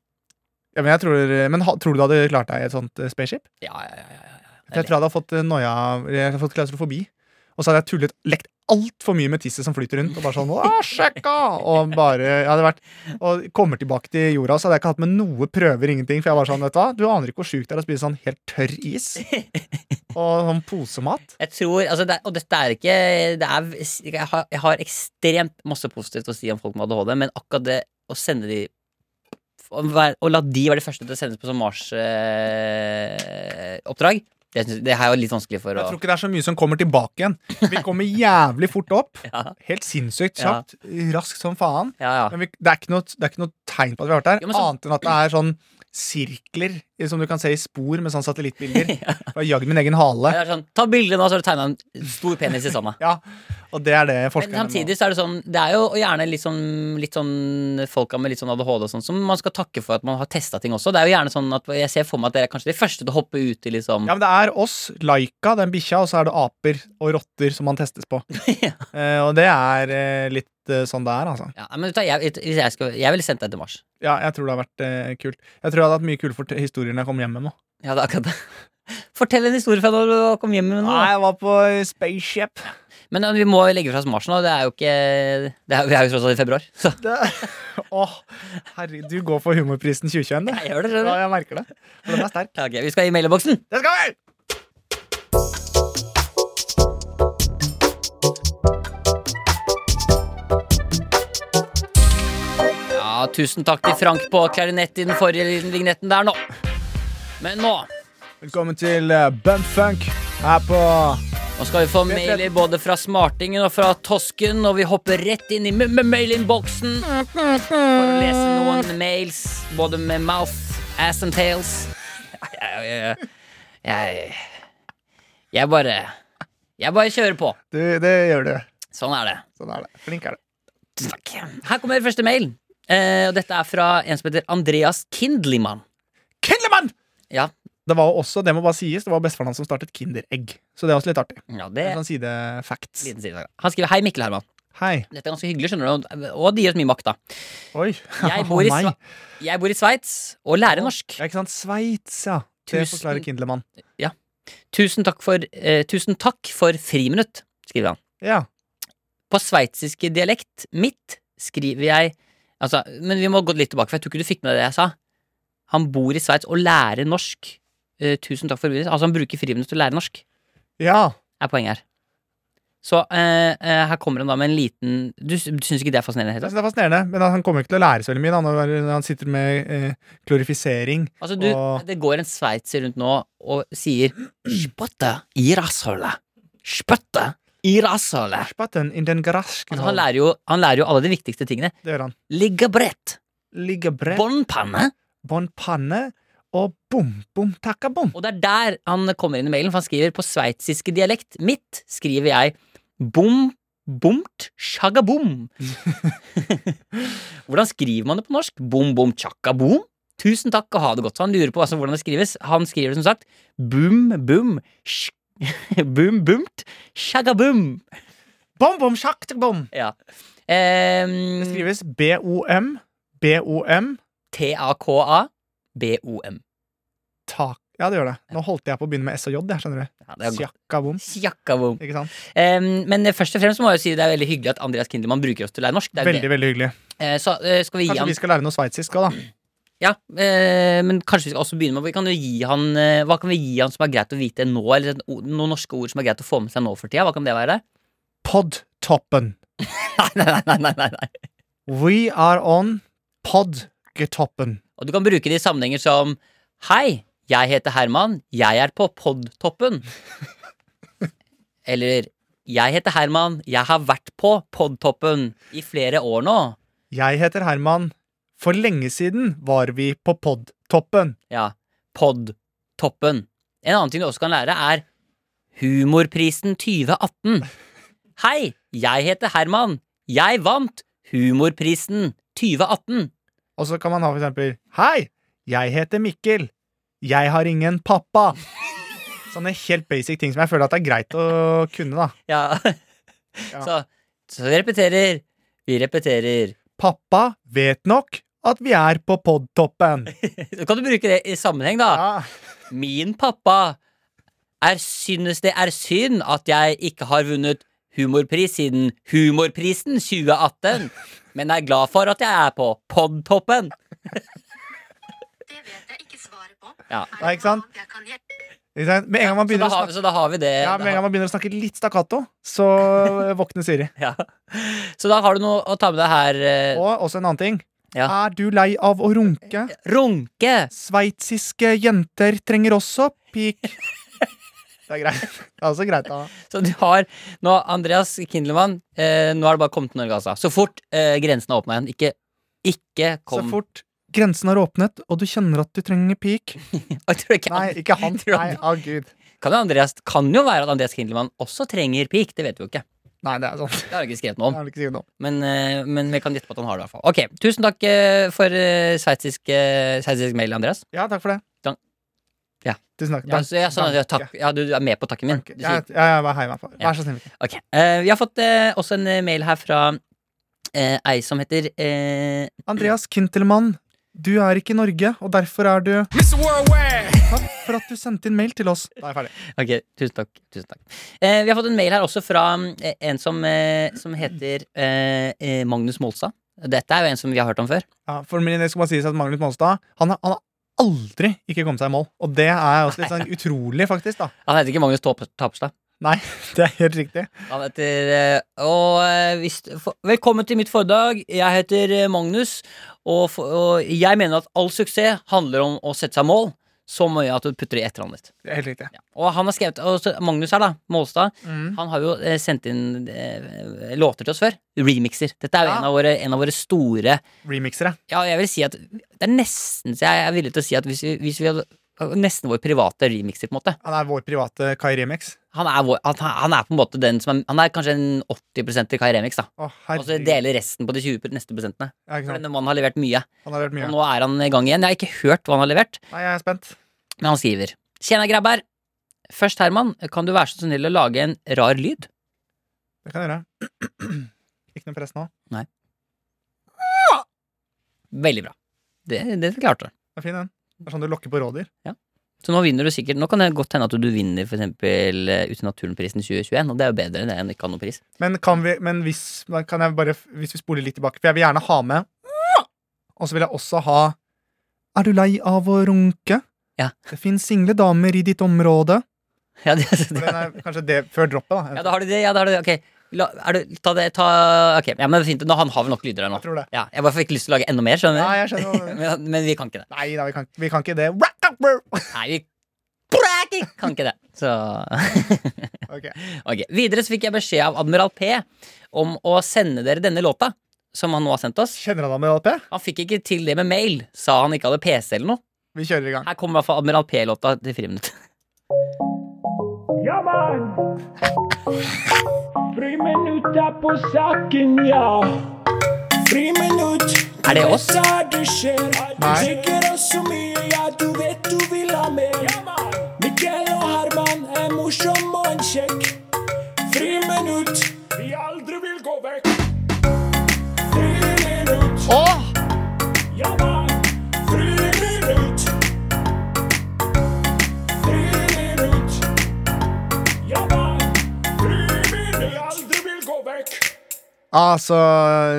S3: Ja, men jeg tror, eh, men ha, tror du du hadde klart deg i et sånt eh, spaceship?
S2: Ja, ja, ja, ja, ja.
S3: For jeg tror jeg hadde fått eh, noia Jeg hadde fått klaustrofobi. Og så hadde jeg tullet lekt altfor mye med tisset som flyter rundt. Og bare sånn, «Åh, sjekka! Og bare, jeg hadde vært Og kommer tilbake til jorda, så hadde jeg ikke hatt med noe prøver, ingenting. For jeg var sånn, vet du hva, du aner ikke hvor sjukt det er å spise sånn helt tørr is. Og sånn posemat.
S2: Jeg tror, altså det, er- Og dette er ikke det er, jeg, har, jeg har ekstremt masse positivt å si om folk med ADHD, men akkurat det å sende de Å være- å la de være de første til å sendes på sånn Mars-oppdrag eh, oppdrag, det, synes- det her er jo litt vanskelig for
S3: Jeg tror
S2: å
S3: ikke det er så mye som kommer tilbake igjen. Vi kommer jævlig fort opp.
S2: Ja,
S3: Helt sinnssykt
S2: Ja.
S3: kjapt. Raskt som faen.
S2: ja, ja.
S3: Men vi, det, er ikke noe, det er ikke noe tegn på at vi har vært der,
S2: Jo, men så-
S3: annet enn at det er sånn sirkler i- som du kan se i spor med sånne satellittbilder. Og jeg har jagd min egen hale.
S2: Det er sånn, Ta bilde nå, så har du tegna en stor penis i sanda.
S3: Ja, og det er det
S2: Men
S3: forskerne
S2: samtidig så er det sånn Det er jo gjerne litt sånn, litt sånn folka med litt sånn ADHD og sånn som man skal takke for at man har testa ting også. Det er jo gjerne sånn at jeg ser for meg at dere er kanskje de første til å hoppe ut i liksom
S3: Ja, men det er oss, Laika, den bikkja, og så er det aper og rotter som man testes på.
S2: Ja.
S3: Eh, og det er eh, litt eh, sånn det er, altså.
S2: Ja, men vet du, hva, jeg, hvis jeg, skal, jeg ville sendt deg til Mars.
S3: Ja, jeg tror det har vært eh, kult. Jeg tror jeg hadde hatt mye kule fort- historier når jeg kom hjem med nå.
S2: Ja, det er akkurat det. Fortell en historie fra da du kom hjem med noe.
S3: Nei, jeg var på spaceship.
S2: Men ja, vi må legge fra oss Mars nå. Det er jo ikke det er, Vi er jo tross alt i februar. Så
S3: Det... Åh, herregud, du går for humorprisen 2021, du.
S2: jeg gjør det,
S3: Ja,
S2: skjønner du.
S3: jeg merker det. For den er sterk.
S2: Ja, ok, vi skal i mailboksen.
S3: Det skal vi!
S2: Ja, tusen takk til Frank på klarinett i den forrige liten vignetten der nå. Men nå
S3: Velkommen til eh, Bump Funk her på
S2: Nå skal vi få mailer både fra smartingen og fra tosken, og vi hopper rett inn i m- m- mailinnboksen for å lese noen mails, både med mouth, ass and tails. Jeg, jeg, jeg, jeg bare Jeg bare kjører på.
S3: Du, det gjør du.
S2: Sånn er det.
S3: Sånn er det. Flink er du.
S2: Tusen takk. Her kommer første mail, eh, og dette er fra en som heter Andreas Kindlimann.
S3: Kindermann!
S2: Ja,
S3: Det var jo også, det må bare sies, det var bestefaren hans som startet Kinderegg. Så det er også litt artig.
S2: ja det
S3: En
S2: er en
S3: sånn sidefact.
S2: liten side. Han skriver Hei, Mikkel Herman.
S3: Hei.
S2: Dette er ganske hyggelig, skjønner du, og- og det gir oss mye makt, da.
S3: Oi.
S2: Jeg bor i,
S3: Å, nei.
S2: Sve- jeg bor i Sveits og lærer norsk.
S3: Ja, ikke sant? Sveits, ja. Det
S2: Tusen-
S3: forklarer Kindlemann.
S2: Tusen takk for, eh, tusen takk for friminutt, skriver han.
S3: Ja.
S2: På sveitsiske dialekt mitt skriver jeg Altså, men vi må gå litt tilbake, for jeg tror ikke du fikk med deg det jeg sa. Han bor i Sveits og lærer norsk. Eh, tusen takk for friminutt. Altså, han bruker friminutt til å lære norsk,
S3: Ja.
S2: er poenget her. Så eh, eh, her kommer han da med en liten Du, sy- du syns ikke det er fascinerende? i det hele
S3: Jeg
S2: tatt?
S3: synes det er fascinerende, men han kommer ikke til å lære så veldig mye. da, når Han sitter med eh, klorifisering.
S2: Altså, du,
S3: Åh.
S2: det går en sveitser rundt nå og sier Spytte i rasshølet. Spytte i rasshølet.
S3: Spatten in den garasken.
S2: Altså, han, lærer jo, han lærer jo alle de viktigste tingene.
S3: Det gjør han.
S2: Ligge bredt,
S3: Ligge bredt,
S2: båndpanne.
S3: bånd panne, og bom, bom, takka bom.
S2: Og det er der han kommer inn i mailen, for han skriver på sveitsiske dialekt. Mitt skriver jeg bom, bomt, sjagabom. hvordan skriver man det på norsk? Bom, bom, tjakkabom? Tusen takk og ha det godt. Så han lurer på altså, hvordan det skrives. Han skriver det som sagt bum, bum, sj- bum, bumt, sjagabum.
S3: Bom, bom, sjakk, takk, bom.
S2: Ja. Ehm,
S3: Det skrives B-O-M, B-O-M,
S2: T-A-K-A, B-O-M.
S3: tak... Ja, det gjør det. Nå holdt jeg på å begynne med S og J, jeg, skjønner du.
S2: Ja, det er godt.
S3: Sjakka-bom.
S2: Sjakabom.
S3: Ikke sant?
S2: Em, men først og fremst må jeg jo si det er veldig hyggelig at Andreas Kindermann bruker oss til å lære norsk. Det er jo
S3: Veldig,
S2: det.
S3: veldig hyggelig.
S2: Eh, så eh, skal vi gi
S3: Kanskje
S2: han
S3: vi skal lære noe sveitsisk òg, da.
S2: Ja, eh, men kanskje vi skal også begynne med Vi kan jo gi han eh, Hva kan vi gi han som er greit å vite nå? Eller sånn o- noen norske ord som er greit å få med seg nå for tida? Hva kan det være?
S3: Podtoppen.
S2: Nei, nei, nei, nei, nei, nei.
S3: We are on podgetoppen.
S2: Og du kan bruke det i sammenhenger som Hei, jeg heter Herman. Jeg er på podtoppen. Eller Jeg heter Herman. Jeg har vært på podtoppen i flere år nå.
S3: Jeg heter Herman. For lenge siden var vi på podtoppen.
S2: Ja, podtoppen. En annen ting du også kan lære, er Humorprisen 2018. Hei, jeg heter Herman. Jeg vant Humorprisen 2018.
S3: Og så kan man ha for eksempel Hei, jeg heter Mikkel. Jeg har ingen pappa. Sånne helt basic ting som jeg føler at det er greit å kunne, da.
S2: Ja. Så, så vi repeterer. Vi repeterer.
S3: Pappa vet nok at vi er på podtoppen.
S2: Så kan du bruke det i sammenheng, da.
S3: Ja.
S2: Min pappa er, synes det er synd at jeg ikke har vunnet humorpris siden Humorprisen 2018, men er glad for at jeg er på podtoppen.
S1: Det vet jeg ikke svaret på.
S2: Ja.
S1: Er det
S3: Nei, ikke sant?
S1: noe annet jeg kan hjelpe?
S3: Ikke sant? Med en gang
S2: Så
S3: man
S2: da,
S3: begynner å
S2: har,
S3: snakke
S2: så da har vi sånn- det.
S3: ja,
S2: Da
S3: med en gang
S2: har-
S3: man begynner å snakke litt stakkato, så våkner Siri.
S2: ja. Så da har du noe å ta med deg her. eh,
S3: Og også en annen ting.
S2: Ja.
S3: Er du lei av å runke?
S2: Runke!
S3: Sveitsiske jenter trenger også pik. Det er greit. Det er også greit, da.
S2: Så du har nå, Andreas Kindelmann, eh, nå har det bare kommet til Norge, altså. Så fort eh, grensen er åpna igjen. Ikke, ikke kom
S3: Så fort grensen har åpnet, og du kjenner at du trenger pik
S2: Jeg tror ikke,
S3: Nei, ikke han.
S2: Tror
S3: Nei,
S2: han-
S3: å gud.
S2: Kan, jo Andreas, kan jo være at Andreas Kindelmann også trenger pik. Det vet vi jo ikke.
S3: Nei, det er sant.
S2: Det har han ikke skrevet noe
S3: Det
S2: om.
S3: er vel ikke sikkert noe.
S2: Men, eh, men vi kan gjette på at han har det. i hvert fall Ok, Tusen takk eh, for eh, sveitsisk, eh, sveitsisk mail, Andreas.
S3: Ja, takk for det.
S2: Takk. Ja.
S3: Tusen takk.
S2: Ja, så, ja, sånn, ja,
S3: Takk.
S2: takk, ja, du, du er med på takken min.
S3: Takk.
S2: Du
S3: Ja,
S2: sier-
S3: ja, ja, vær hei, meg for. Vær så snill. Mikkel.
S2: Ok, eh, Vi har fått eh, også en eh, mail her fra eh, ei som heter eh,
S3: Andreas Kintelmann, du er ikke i Norge, og derfor er du Takk for at du sendte inn mail til oss. Da er jeg ferdig.
S2: Ok, tusen takk. Tusen takk. Eh, vi har fått en mail her også fra mm, eh, en som, eh, som heter eh, eh, Magnus Molstad. Dette er jo en som vi har hørt om før.
S3: Ja, for min del skal bare sies at Magnus Monstad han, har- han har aldri ikke kommet seg i mål. Og det er også litt sånn utrolig, faktisk. da
S2: Han heter ikke Magnus Top- Tapstad.
S3: Nei, det er helt riktig.
S2: Han heter eh, Og eh, hvis, for, Velkommen til mitt foredrag. Jeg heter eh, Magnus, og, for, og jeg mener at all suksess handler om å sette seg mål så mye at du putter det i etternavnet ditt.
S3: Det er helt riktig.
S2: Ja. Og han har skrevet og så Magnus her, da. Målstad.
S3: Mm.
S2: Han har jo eh, sendt inn eh, låter til oss før. Remixer. Dette er jo
S3: Ja.
S2: en, av våre, en av våre store
S3: Remixere.
S2: Ja, jeg vil si at Det er nesten så jeg er villig til å si at hvis vi, hvis vi hadde Nesten vår private remixer, på en måte.
S3: Han er vår private Kai Remix.
S2: Han er, vår, han, han er på en måte den som er Han er kanskje en 80 til Kai Remix, da.
S3: Å,
S2: Og så
S3: herregud.
S2: deler resten på de 20 neste prosentene.
S3: Ja, ikke
S2: For
S3: sant?
S2: denne mannen har levert mye.
S3: Han har hørt
S2: Og
S3: mye.
S2: nå er han i gang igjen. Jeg har ikke hørt hva han har levert,
S3: Nei, jeg er spent.
S2: men han skriver Tjena, grabber. Først, Herman, kan du være så snill å lage en rar lyd?
S3: Det kan jeg gjøre. Ikke noe press nå.
S2: Veldig bra. Det, det klarte du.
S3: Det er fin, den. Det er sånn du lokker på rådyr.
S2: Så nå vinner du sikkert. Nå kan det godt hende at du vinner for eksempel eh, Ute i naturen-prisen 2021, og det er jo bedre enn det enn ikke å ha noen pris.
S3: Men, kan vi, men hvis, da kan jeg bare, hvis vi spoler litt tilbake For jeg vil gjerne ha med Og så vil jeg også ha Er du lei av å runke?
S2: Ja.
S3: Det finnes single damer i ditt område.
S2: Ja, det,
S3: For Den er kanskje det før droppet, da.
S2: Ja, da har du det. Ja, da har du det. Ok. La, er du, ta det, ta Ok, ja, men fint. Nå, han har vel nok lyder her nå.
S3: Jeg tror det.
S2: Ja, jeg bare fikk lyst til å lage enda mer, skjønner du.
S3: Nei, jeg skjønner hva du mener.
S2: men, men vi kan ikke det.
S3: Nei da, vi kan, vi kan ikke det. Ok,
S2: Nei, vi Praki! kan ikke det. Så Ok. Videre så fikk jeg beskjed av Admiral P om å sende dere denne låta, som han nå har sendt oss.
S3: Kjenner han deg med ADP?
S2: Han fikk ikke til det med mail, sa han ikke hadde PC eller noe.
S3: Vi kjører i gang.
S2: Her kommer i hvert fall Admiral P-låta til friminutt.
S5: Ja, mann! Friminutt er på saken, ja. Friminutt.
S2: Er det oss?
S5: Du vet hva det skjer. Du
S3: Nei.
S5: drikker oss så mye, ja, du vet du vil ha mer. Mikkel og Herman er morsom og en kjekk. Friminutt. Vi aldri vil gå vekk. Friminutt.
S3: Åh!
S5: Ja, mann. Friminutt. Friminutt. Ja, mann. Friminutt. Vi aldri vil gå vekk.
S3: Altså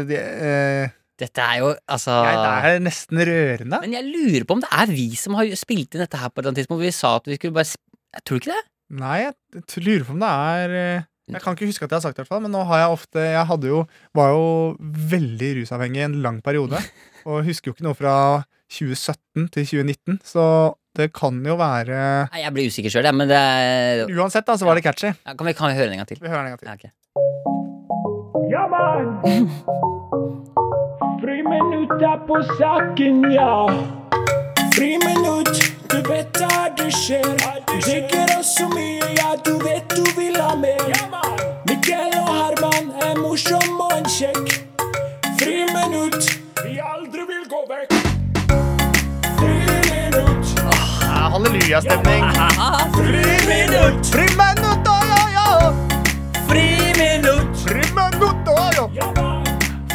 S3: det, eh,
S2: Dette er jo altså
S3: nei, Det er nesten rørende.
S2: Men jeg lurer på om det er vi som har spilt inn dette her på et eller annet tidspunkt. hvor Vi sa at vi skulle bare sp Jeg tror ikke det.
S3: Nei, jeg t- lurer på om det er eh, Jeg kan ikke huske at jeg har sagt det, i hvert fall, men nå har jeg ofte Jeg hadde jo, var jo veldig rusavhengig i en lang periode. Og husker jo ikke noe fra 2017 til 2019, så det kan jo være
S2: Nei, Jeg blir usikker sjøl, men det er...
S3: Uansett, da, så var det catchy.
S2: ja, kan, vi, kan vi høre den en gang til?
S3: Vi hører den en gang til.
S2: Ja, ok.
S5: Ja, mann! Friminutt er på saken, ja. Friminutt, du vet hva det skjer. Du drikker oss så mye, ja, du vet du vil ha mer. Mikkel og Herman er morsom og en kjekk. Friminutt, vi aldri vil gå vekk. Friminutt.
S3: Ja, hallelujastemning.
S5: Friminutt,
S3: Friminutt, oi, oi, oi.
S2: Friminutt,
S3: Friminutt, oi, oi.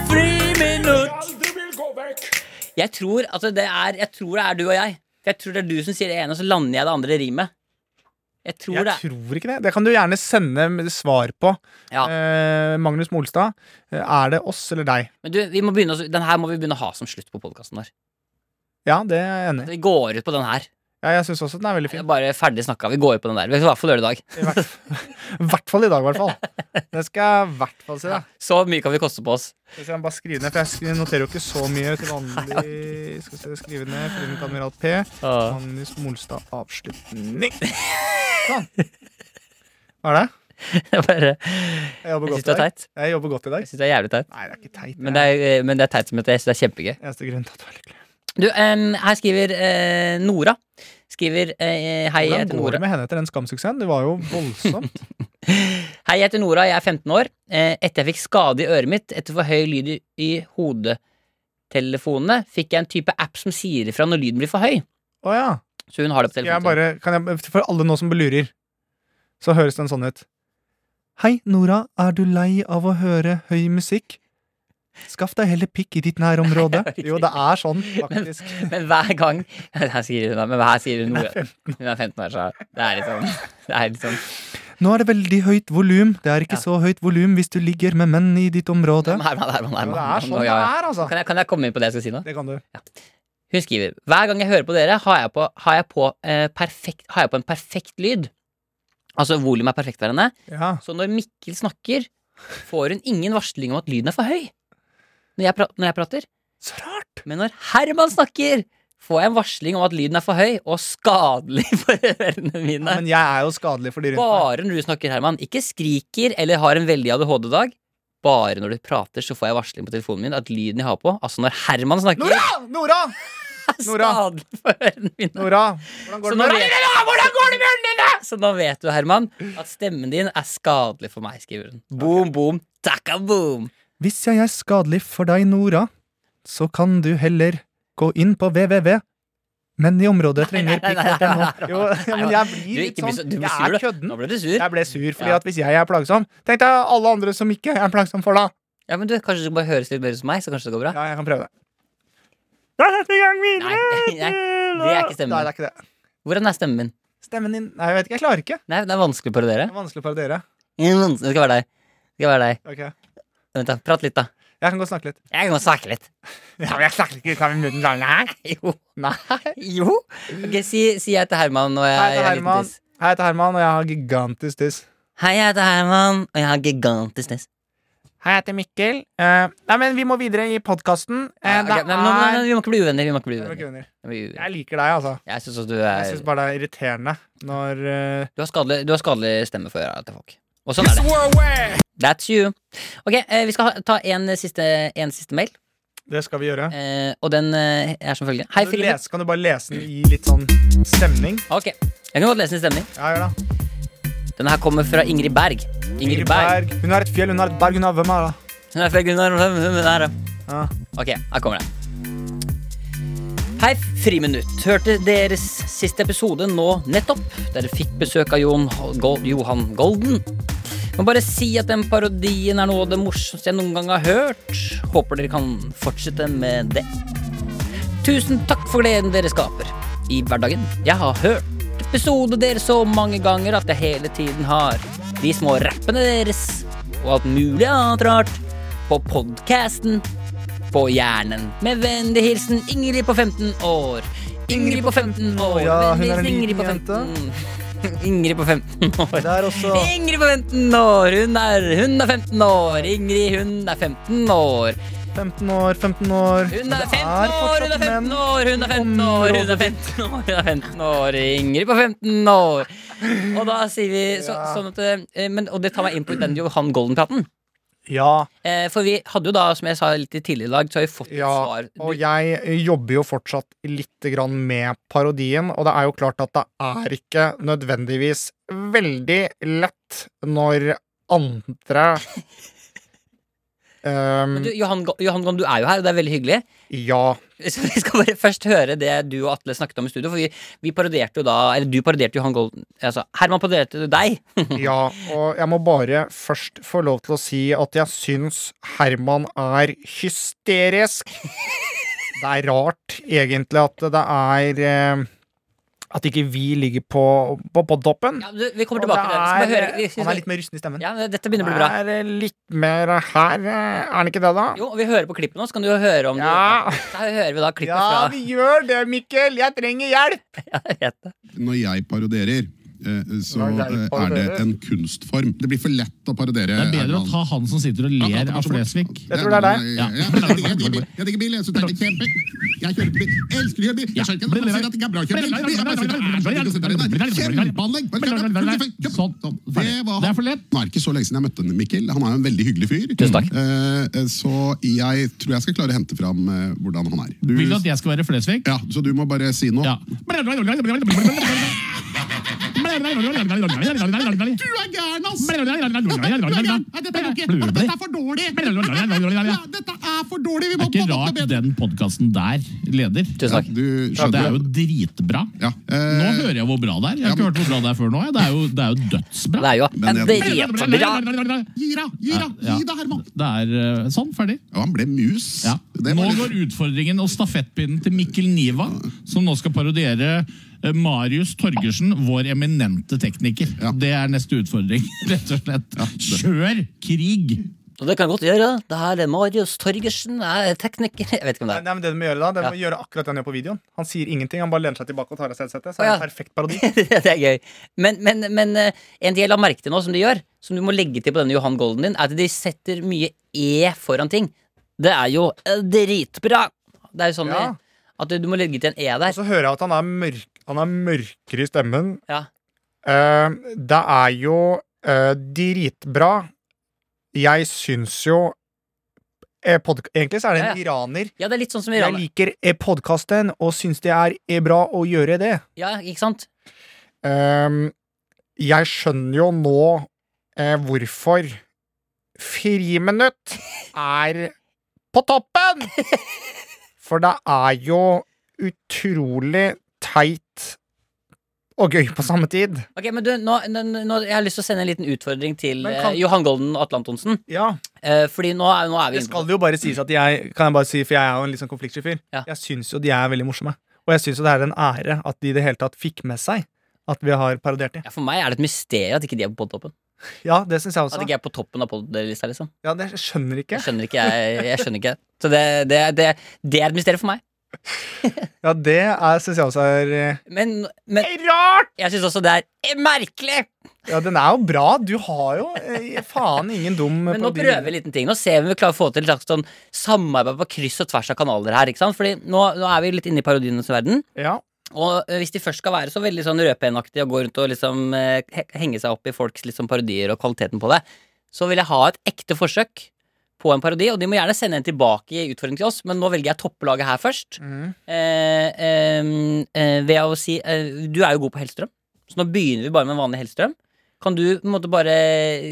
S2: friminutt.
S5: aldri vil gå vekk.
S2: Jeg tror, altså det er, jeg tror det er du og jeg. Jeg tror det er du som sier det ene, og så lander jeg det andre rimet. Jeg tror
S3: Jeg
S2: det.
S3: tror ikke det. Det kan du gjerne sende med svar på.
S2: Ja.
S3: Eh, Magnus Molstad, eh, er det oss eller deg?
S2: Men du, vi må begynne, å- den her må vi begynne å ha som slutt på podkasten vår.
S3: Ja, det er jeg enig i.
S2: Vi går ut på den her.
S3: Ja, jeg syns også den er veldig
S2: Vi
S3: fin.
S2: er bare ferdig snakka. Vi går ut på den der. Vi skal i hvert fall gjøre det i dag.
S3: I hvert, I hvert fall i dag, i hvert fall. Det skal jeg i hvert fall si. da.
S2: Så mye kan vi koste på oss.
S3: Skal vi se, jeg må bare skrive ned, for jeg skri- noterer jo ikke så mye til vanlig. Skal vi se, skrive ned Friminutt Admiral P.
S2: Åh.
S3: Magnus Molstad, avslutning. Sånn. Hva er det?
S2: Det er bare,
S3: Jeg jobber
S2: jeg syns
S3: godt
S2: det
S3: i
S2: er
S3: dag.
S2: teit.
S3: Jeg jobber godt i
S2: Jeg
S3: dag.
S2: synes det er jævlig teit.
S3: Nei, det er ikke teit.
S2: Men det er, eh, men det er teit som heter. Jeg synes det er kjempegøy.
S3: eneste grunnen til at du er lykkelig.
S2: Du, em, her skriver eh, Nora. Skriver eh, Hei, jeg
S3: Hvordan
S2: heter
S3: går
S2: Nora.
S3: det med henne etter den skamsuksessen? Det var jo voldsomt.
S2: Hei, jeg heter Nora, jeg er 15 år. Eh, Etter jeg fikk skade i øret mitt etter for høy lyd i- i hodetelefonene, fikk jeg en type app som sier ifra når lyden blir for høy.
S3: Å ja.
S2: Så hun har det på
S3: Skal jeg
S2: telefonen.
S3: bare, kan jeg, for alle nå som belurer, så høres den sånn ut. Hei, Nora, er du lei av å høre høy musikk? Skaff deg heller pikk i ditt nærområde. Jo, det er sånn, faktisk.
S2: Men hver gang Her skriver hun, men her skriver hun Nora. Hun er 15 år, så det er litt sånn, det er litt sånn.
S3: Nå er det veldig høyt volum. Det er ikke
S2: Ja.
S3: så høyt volum hvis du ligger med menn i ditt område.
S2: Herman, Herman, Herman,
S3: Jo,
S2: Herman.
S3: det er sånn det
S2: Ja, ja.
S3: er, altså.
S2: Kan jeg, kan jeg komme inn på det jeg skal si nå?
S3: Det kan du.
S2: Hun skriver Hver gang jeg hører på dere, har jeg på, har jeg på, eh, perfekt, har jeg på en perfekt lyd. Altså volumet er perfektværende.
S3: Ja.
S2: Så når Mikkel snakker, får hun ingen varsling om at lyden er for høy. Når jeg, pra når jeg prater.
S3: Så rart!
S2: Men når Herman snakker, får jeg en varsling om at lyden er for høy og skadelig for ørene mine.
S3: Men jeg er jo skadelig for de rundt meg.
S2: bare når du snakker, Herman. Ikke skriker eller har en veldig ADHD-dag. Bare når du prater, så får jeg varsling på telefonen min at lyden jeg har på, altså når Herman snakker,
S3: Nora! Nora!
S2: er
S3: Nora!
S2: skadelig for ørene mine.
S3: Nora! Hvordan
S2: Så
S3: går
S2: nå,
S3: det med
S2: vet,
S3: deg?
S2: hvordan går det med ørene dine?! Så nå vet du, Herman, at stemmen din er skadelig for meg, skriver hun. Boom, boom, takka boom.
S3: Hvis jeg er skadelig for deg, Nora, så kan du heller gå inn på www. Men i området trenger pikk
S2: nei, nei, nei,
S3: nå. Jo, ja, men jeg
S2: Du,
S3: blir litt
S2: ikke bli så,
S3: sånn.
S2: du blir
S3: Jeg
S2: sur,
S3: er
S2: du.
S3: kødden.
S2: Nå ble du sur.
S3: Jeg ble sur, fordi
S2: Ja.
S3: at hvis jeg er plagsom, tenk deg alle andre som ikke er plagsom for, da.
S2: Ja, men du, Kanskje du bare høres litt mer ut som meg, så kanskje det går bra?
S3: Ja, jeg kan prøve det. Da setter vi i gang videre
S2: Nei, nei, det er ikke stemmen.
S3: Nei, det er ikke det.
S2: Hvordan er stemmen min?
S3: Stemmen din Nei, jeg vet ikke. Jeg klarer ikke.
S2: Nei, det er vanskelig å parodiere.
S3: Det er vanskelig å parodiere.
S2: Det skal være deg. Det skal være deg.
S3: Ok. Jeg
S2: Vent, da. Prat litt, da.
S3: kan godt snakke litt.
S2: Jeg kan godt snakke litt.
S3: Ja, men jeg snakker ikke ut av munnen lang her.
S2: Jo.
S3: Nei.
S2: Jo. Ok, si, si jeg heter Herman, og jeg,
S3: Hei, jeg
S2: jeg
S3: heter
S2: er en liten tiss.
S3: Herman. Hei, jeg heter Herman, og jeg har gigantisk tiss.
S2: Hei, jeg heter Herman, og jeg har gigantisk tiss.
S3: Hei, jeg heter Mikkel. Eh, nei, men vi må videre i Eh, podkasten.
S2: Ja, ok, men, nå- nå- nå- vi må ikke bli uvenner. Vi må ikke bli uvenner.
S3: Jeg
S2: Vi må ikke bli uvenner.
S3: liker deg, altså.
S2: Jeg syns også du
S3: Jeg
S2: er
S3: syns bare det er irriterende når eh,
S2: Du har skadelig, du har skadelig stemme for øra til folk. Og sånn er det. That's you. Ok, eh, vi skal ha- ta en eh, siste, en siste mail,
S3: Det skal vi gjøre.
S2: eh, og den eh, er som følger. Hei,
S3: Kan du,
S2: Philip.
S3: lese, kan du bare lese den i litt sånn stemning?
S2: Ok, jeg kan godt lese den i stemning.
S3: Ja, gjør det.
S2: Denne her kommer fra Ingrid Berg. Ingrid Berg.
S3: Hun har et fjell, hun har et berg, hun har hvem er det?
S2: Hun er fra Gunnar hun er her.
S3: Ja.
S2: Ok, her kommer det. Hei, Friminutt. Hørte deres siste episode nå nettopp. Dere fikk besøk av Jon Gol Johan Golden. Må bare si at den parodien er noe av det morsomste jeg noen gang har hørt. Håper dere kan fortsette med det. Tusen takk for gleden dere skaper i hverdagen. Jeg har hørt episode dere så mange ganger at jeg hele tiden har de små rappene deres og alt mulig annet rart på podcasten på hjernen. Med vennlig hilsen Ingrid på 15 år. Ingrid på 15 år.
S3: Ja, hun er en
S2: Vennlig hilsen Ingrid på
S3: liten jente.
S2: 15. Ingrid på 15 år.
S3: Det er også
S2: Ingrid på 15 år. Hun er, hun er 15 år. Ingrid, hun er 15 år.
S3: 15 år, 15 år.
S2: Hun er
S3: Det
S2: 15 år, hun er
S3: fortsatt
S2: 15
S3: menn.
S2: år, hun er 15 år, hun er 15 år, hun er 15 år, Ingrid på 15 år. Og da sier vi så,
S3: Ja.
S2: sånn at eh, men, Og det tar meg inn på den Johan Golden-praten.
S3: Ja,
S2: Eh, for vi hadde jo da, som jeg sa litt tidligere i dag, så har vi fått et
S3: ja.
S2: svar.
S3: Og
S2: Du,
S3: jeg eh, jobber jo fortsatt lite grann med parodien, og det er jo klart at det er ikke nødvendigvis veldig lett når andre um,
S2: men du, Johan, Go- Johan Golden, du er jo her, og det er veldig hyggelig.
S3: Ja.
S2: Så vi skal bare først høre det du og Atle snakket om i studio. For vi, vi parodierte jo da Eller du parodierte jo han Golden Altså, Herman parodierte deg.
S3: Ja, og jeg må bare først få lov til å si at jeg syns Herman er hysterisk. Det er rart, egentlig, at det er eh, At ikke vi ligger på, på, på toppen.
S2: Ja, du, vi kommer
S3: Og
S2: tilbake til det. Så bare
S3: det er,
S2: høre. Vi, vi,
S3: han er litt mer rusten i stemmen.
S2: ja, dette begynner å bli
S3: Det
S2: bra.
S3: er eh, litt mer her, eh, er han ikke det, da?
S2: Jo, og vi hører på klippet nå, så kan du jo høre om
S3: Ja.
S2: du Da hører vi da klippet
S3: Ja,
S2: fra
S3: vi gjør det, Mikkel! Jeg trenger hjelp!
S2: Jeg vet det.
S6: når jeg parodierer, eh, så
S3: Når jeg
S6: eh, er det
S3: parodierer.
S6: en kunstform. Det blir for lett å parodiere.
S7: Det er bedre å
S6: Erland.
S7: ta han som sitter og
S6: Ja,
S7: ler
S6: det er
S7: av
S6: for-
S7: Flesvig.
S3: Jeg tror det er deg.
S6: Ja. Jeg jeg digger bil. Jeg digger bil, jeg synes det er kjempe. Jeg kjører bil. Jeg elsker å kjøre bil. Jeg skjønner ikke at noen sier at det ikke er bra å kjøre bil. Jeg bare synes det er så digg å sitte her inne. Kjempeanlegg.
S7: Sånn.
S6: Det var han.
S7: Det er for lett.
S6: Det var ikke så lenge siden jeg møtte han, Mikkel. Han er jo en veldig hyggelig fyr.
S2: Tusen takk.
S6: Eh, Så jeg tror jeg skal klare å hente fram eh, hvordan han er. Du-
S7: Vil du at jeg skal være Flesvig?
S6: ja, så du må bare si noe.
S7: Ja.
S6: Du er gæren, ass! er for dårlig! dette er for dårlig! Vi
S7: Det er ikke rart den podkasten der leder.
S2: Tusen takk.
S6: Du
S7: Det er
S6: skjønner
S7: jo
S6: det. dritbra.
S7: dritbra.
S6: Ja.
S7: Nå hører jeg hvor bra det er. Jeg har ikke hørt hvor bra det er før nå. jeg. Det er jo, det er jo dødsbra.
S2: Det er jo
S6: Men
S2: en
S6: jeg-
S2: dritbra
S6: Gi deg, gi deg,
S7: Ja.
S6: gi deg, Herman.
S7: Det er eh, sånn, ferdig.
S6: Ja, han ble mus.
S7: Ja.
S6: Det
S7: Nå
S6: var litt-
S7: går utfordringen og stafettpinnen til Mikkel Niva, som nå skal parodiere eh, Marius Torgersen, vår eminente tekniker.
S6: Ja.
S7: Det er neste utfordring, rett og slett. Kjør krig!
S2: Og det kan jeg godt gjøre. Det her er Marius Torgersen, jeg er tekniker Jeg vet ikke om det
S3: Nei,
S2: er
S3: men det du må gjøre da, det må gjøre akkurat det han gjør på videoen. Han sier ingenting, han bare lener seg tilbake og tar av seg headsetet. Så er det
S2: Å,
S3: en
S2: ja.
S3: perfekt parodi.
S2: det er gøy. Men, men, men eh, en del av merket nå som de gjør, som du må legge til på denne Johan Golden din, er at de setter mye E foran ting. Det er jo eh, dritbra! Det er jo sånn
S3: Ja.
S2: eh, at du må legge til en E
S3: Og
S2: der.
S3: så hører jeg at han er, mørk, han er mørkere i stemmen.
S2: Ja.
S3: Eh, det er jo eh, dritbra. Jeg syns jo eh, podk- Egentlig så er det en
S2: Ja,
S3: iraner.
S2: ja, det er litt sånn som
S3: Jeg
S2: Iran.
S3: liker eh, podkasten og syns det er eh, bra å gjøre det.
S2: Ja, ikke sant?
S3: Ehm, jeg skjønner jo nå eh, hvorfor Friminutt er på toppen! For det er jo utrolig teit og gøy på samme tid.
S2: Ok, men du, nå, nå, nå, Jeg har lyst til å sende en liten utfordring til
S3: Men kan-
S2: eh, Johan Golden og Atle Antonsen.
S3: Ja,
S2: Eh, fordi nå er, nå er vi
S3: Det
S2: inne på
S3: skal jo bare sies at jeg Kan jeg bare si, for jeg er jo en litt sånn konfliktsky fyr.
S2: Ja.
S3: Jeg syns jo de er veldig morsomme. Og jeg syns jo det er en ære at de i det hele tatt fikk med seg at vi har parodiert dem.
S2: ja, For meg er det et mysterium at ikke de er på podtoppen.
S3: Ja, det syns jeg
S2: At
S3: også.
S2: ikke jeg er på toppen av podlista, liksom.
S3: Altså- Ja, det skjønner ikke.
S2: Jeg skjønner ikke. Jeg, jeg skjønner ikke. Så det, det, det, det er et mysterium for meg.
S3: Ja, det syns jeg også er eh,
S2: Men, men
S3: Rart!
S2: jeg syns også det er merkelig!
S3: Ja, den er jo bra. Du har jo eh, faen ingen dum
S2: Men nå prøver vi en liten ting. Nå ser vi om vi klarer å få til et slags sånn samarbeid på kryss og tvers av kanaler her. ikke sant? Fordi nå, nå er vi litt inne i parodienes verden.
S3: Ja.
S2: Og eh, hvis de først skal være så veldig sånn rødpenaktige og gå rundt og liksom eh, he- henge seg opp i folks liksom parodier og kvaliteten på det, så vil jeg ha et ekte forsøk på en parodi. Og de må gjerne sende en tilbake i utfordring til oss, men nå velger jeg topplaget her først.
S3: Mhm.
S2: Eh, ehm, eh, ved å si eh, Du er jo god på Hellstrøm, så nå begynner vi bare med en vanlig Hellstrøm. Kan du på en måte bare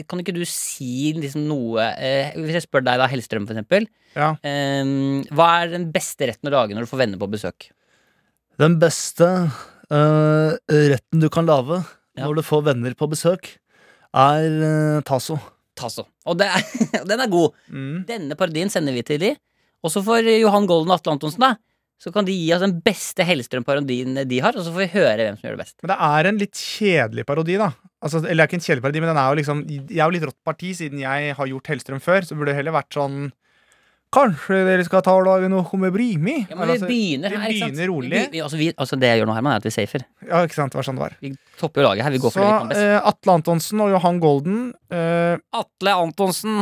S2: Kan ikke du si liksom noe eh, Hvis jeg spør deg, da, Hellstrøm, for eksempel.
S3: Ja.
S2: ehm, hva er den beste retten å lage når du får venner på besøk?
S3: Den beste eh, retten du kan lage
S2: Ja. når
S3: du får venner på besøk, er eh, taso.
S2: Tasso. Og det er, den er god.
S3: Mm.
S2: Denne parodien sender vi til de. Og så får Johan Golden og Atle Antonsen, da. Så kan de gi oss den beste Hellstrøm-parodien de har, og så får vi høre hvem som gjør det best.
S3: Men det er en litt kjedelig parodi, da. Altså, eller det er ikke en kjedelig parodi, men den er jo liksom Jeg er jo litt rått parti, siden jeg har gjort Hellstrøm før, så burde det heller vært sånn Kanskje dere skal ta og lage noe med Brimi?
S2: Ja, men vi
S3: Altså,
S2: begynner her,
S3: vi
S2: ikke sant?
S3: begynner rolig.
S2: Vi, vi, altså, vi, altså, det jeg gjør nå, Herman, er at vi safer.
S3: ja, ikke sant? Det var sånn det var.
S2: Vi topper jo laget her. Vi går for
S3: Så
S2: det vi kan best.
S3: eh, Atle Antonsen og Johan Golden eh,
S2: Atle Antonsen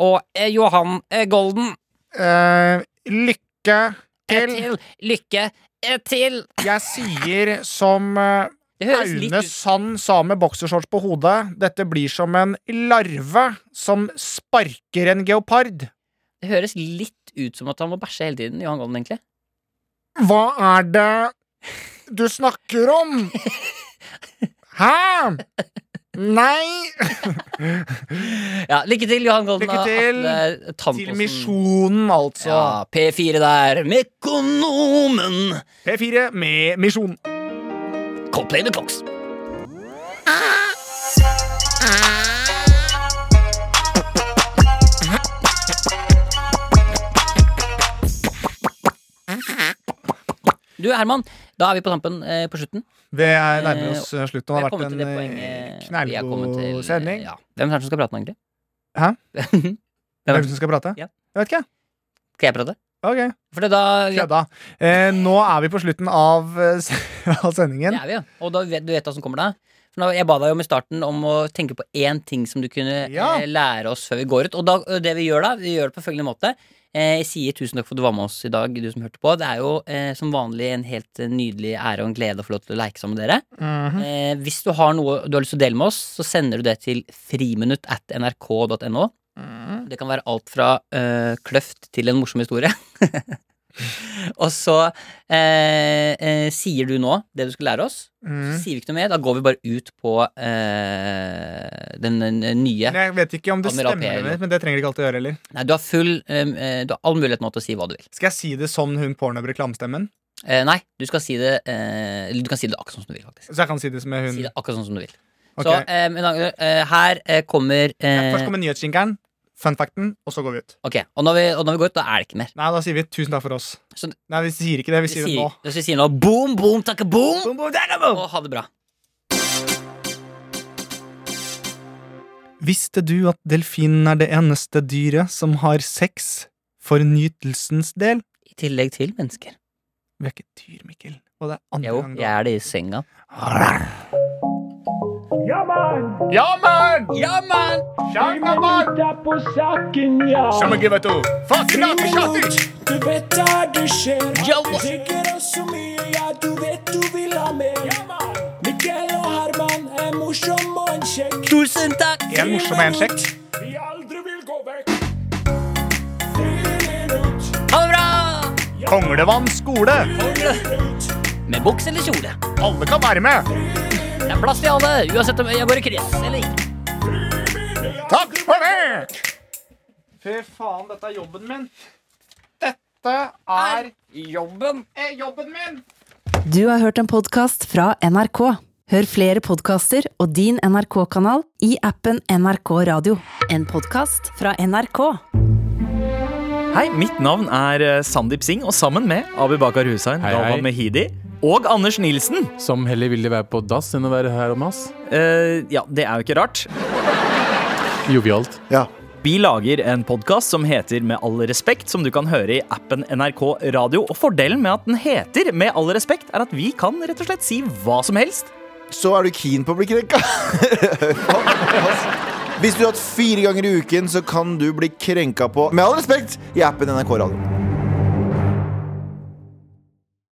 S2: og eh, Johan eh, Golden.
S3: Eh, lykke
S2: eh,
S3: til.
S2: Til lykke eh, til.
S3: Jeg sier som eh,
S2: Det høres litt
S3: Aune
S2: ut
S3: Sand sa med boksershorts på hodet, dette blir som en larve som sparker en geopard.
S2: Det høres litt ut som at han må bæsje hele tiden, Johan Golden, egentlig.
S3: Hva er det du snakker om? Hæ? Nei!
S2: Ja, lykke til, Johan Golden.
S3: Lykke til.
S2: Atle
S3: Til
S2: Tamposen.
S3: Misjonen, altså.
S2: Ja, P4 der. Mekonomen.
S3: P4 med Misjon.
S2: Coldplay the Clocks. Du, Herman, da er vi på tampen eh, på slutten.
S3: Vi er
S2: Eh,
S3: nærmer oss eh, slutten. Det
S2: Jeg
S3: har
S2: kommer
S3: vært
S2: til
S3: en
S2: det
S3: eh,
S2: poenget vi er kommet
S3: knallgod
S2: til, eh,
S3: sending.
S2: Ja. Hvem er det som skal prate nå, egentlig?
S3: Hæ?
S2: Hvem
S3: Hvem
S2: er
S3: er
S2: det?
S3: det som skal prate?
S2: Ja.
S3: Jeg vet ikke.
S2: Skal jeg prate?
S3: Ok,
S2: For det da ja,
S3: kødda. Eh, nå er vi på slutten av, eh, av sendingen.
S2: det er vi, ja. Og da vet, du vet hva som kommer da. For nå, jeg ba deg om i starten om å tenke på én ting som du kunne
S3: Ja.
S2: eh, lære oss før vi går ut. Og da, og det vi gjør da, vi gjør det på følgende måte. Eh, Jeg sier tusen takk for at du var med oss i dag, du som hørte på. Det er jo eh, som vanlig en helt eh, nydelig ære og en glede å få lov til å leke sammen med dere.
S3: Mhm.
S2: Eh, hvis du har noe du har lyst til å dele med oss, så sender du det til friminutt at nrk.no. Det kan være alt fra eh, kløft til en morsom historie. og så eh, eh, sier du nå det du skal lære oss. Så
S3: Mhm.
S2: sier vi ikke noe mer. Da går vi bare ut på eh, den, den nye.
S3: Men Jeg vet ikke om det
S2: Admiral
S3: stemmer,
S2: P,
S3: eller,
S2: eller?
S3: men det trenger det ikke alltid å gjøre heller.
S2: Nei, du har full em, eh, Du har all mulighet nå til å si hva du vil.
S3: Skal jeg si det som hun pornhub-reklamestemmen?
S2: Eh, nei, du skal si det eh, Eller du kan si det akkurat sånn som du vil, faktisk.
S3: Så jeg kan si det som er hun?
S2: Si det akkurat sånn som du vil.
S3: Ok.
S2: Så eh, men, eh, her eh, kommer
S3: Nei,
S2: eh,
S3: Først kommer nyhetsjingeren, fun facten, og så går vi ut.
S2: Ok, og når, vi, og når vi går ut, da er det ikke mer.
S3: Nei, da sier vi tusen takk for oss.
S2: Så-
S3: Nei, vi sier ikke det. Vi
S2: Vi
S3: sier det nå.
S2: sier, hvis vi sier nå boom, boom, takke boom,
S3: Boom, boom, dagga, boom!
S2: og ha det bra.
S3: Visste du at delfinen er det eneste dyret som har sex for nytelsens del?
S2: I tillegg til mennesker.
S3: Vi er ikke et dyr, Mikkel. Og det er andre
S2: Jo,
S3: gang Ah,
S2: jeg er det i senga.
S5: Ja, man.
S3: Ja, mann! Ja,
S5: Fem minutter på saken, ja. Fem minutter, du vet da det skjer.
S2: Yo.
S5: Du drikker oss så mye, ja, du vet du vil ha mer. Mikkel og Herman er morsom og en kjekk.
S2: Tusen takk!
S3: En morsom og en kjekk.
S5: Vi aldri vil gå vekk. Tre minutter,
S2: Ha det bra!
S3: Konglevann skole!
S2: Med buks eller kjole.
S3: Alle kan være med!
S2: Det er plass til alle, uansett om jeg går i kryss eller ikke.
S3: Takk for det! Fy faen, dette er jobben min. Dette er
S2: Jobben.
S3: eh, jobben min!
S1: Du har hørt en podkast fra NRK. Hør flere podkaster og din NRK-kanal i appen NRK Radio. En podkast fra NRK.
S8: Hei, mitt navn er eh, Sandeep Singh, og sammen med Abubakar Hussain,
S9: Hei,
S8: Galvan
S9: hei.
S8: Mehidi og Anders Nilsen.
S9: Som heller ville være på dass enn å være her om oss.
S8: Eh, ja, det er jo ikke rart.
S9: Jovialt.
S8: Vi lager en podkast som heter Med all respekt, som du kan høre i appen NRK Radio. Og fordelen med at den heter Med all respekt, er at vi kan rett og slett si hva som helst.
S10: så er du keen på å bli krenka. Hvis du har hatt fire ganger i uken, så kan du bli krenka på, med all respekt, i appen NRK Radio.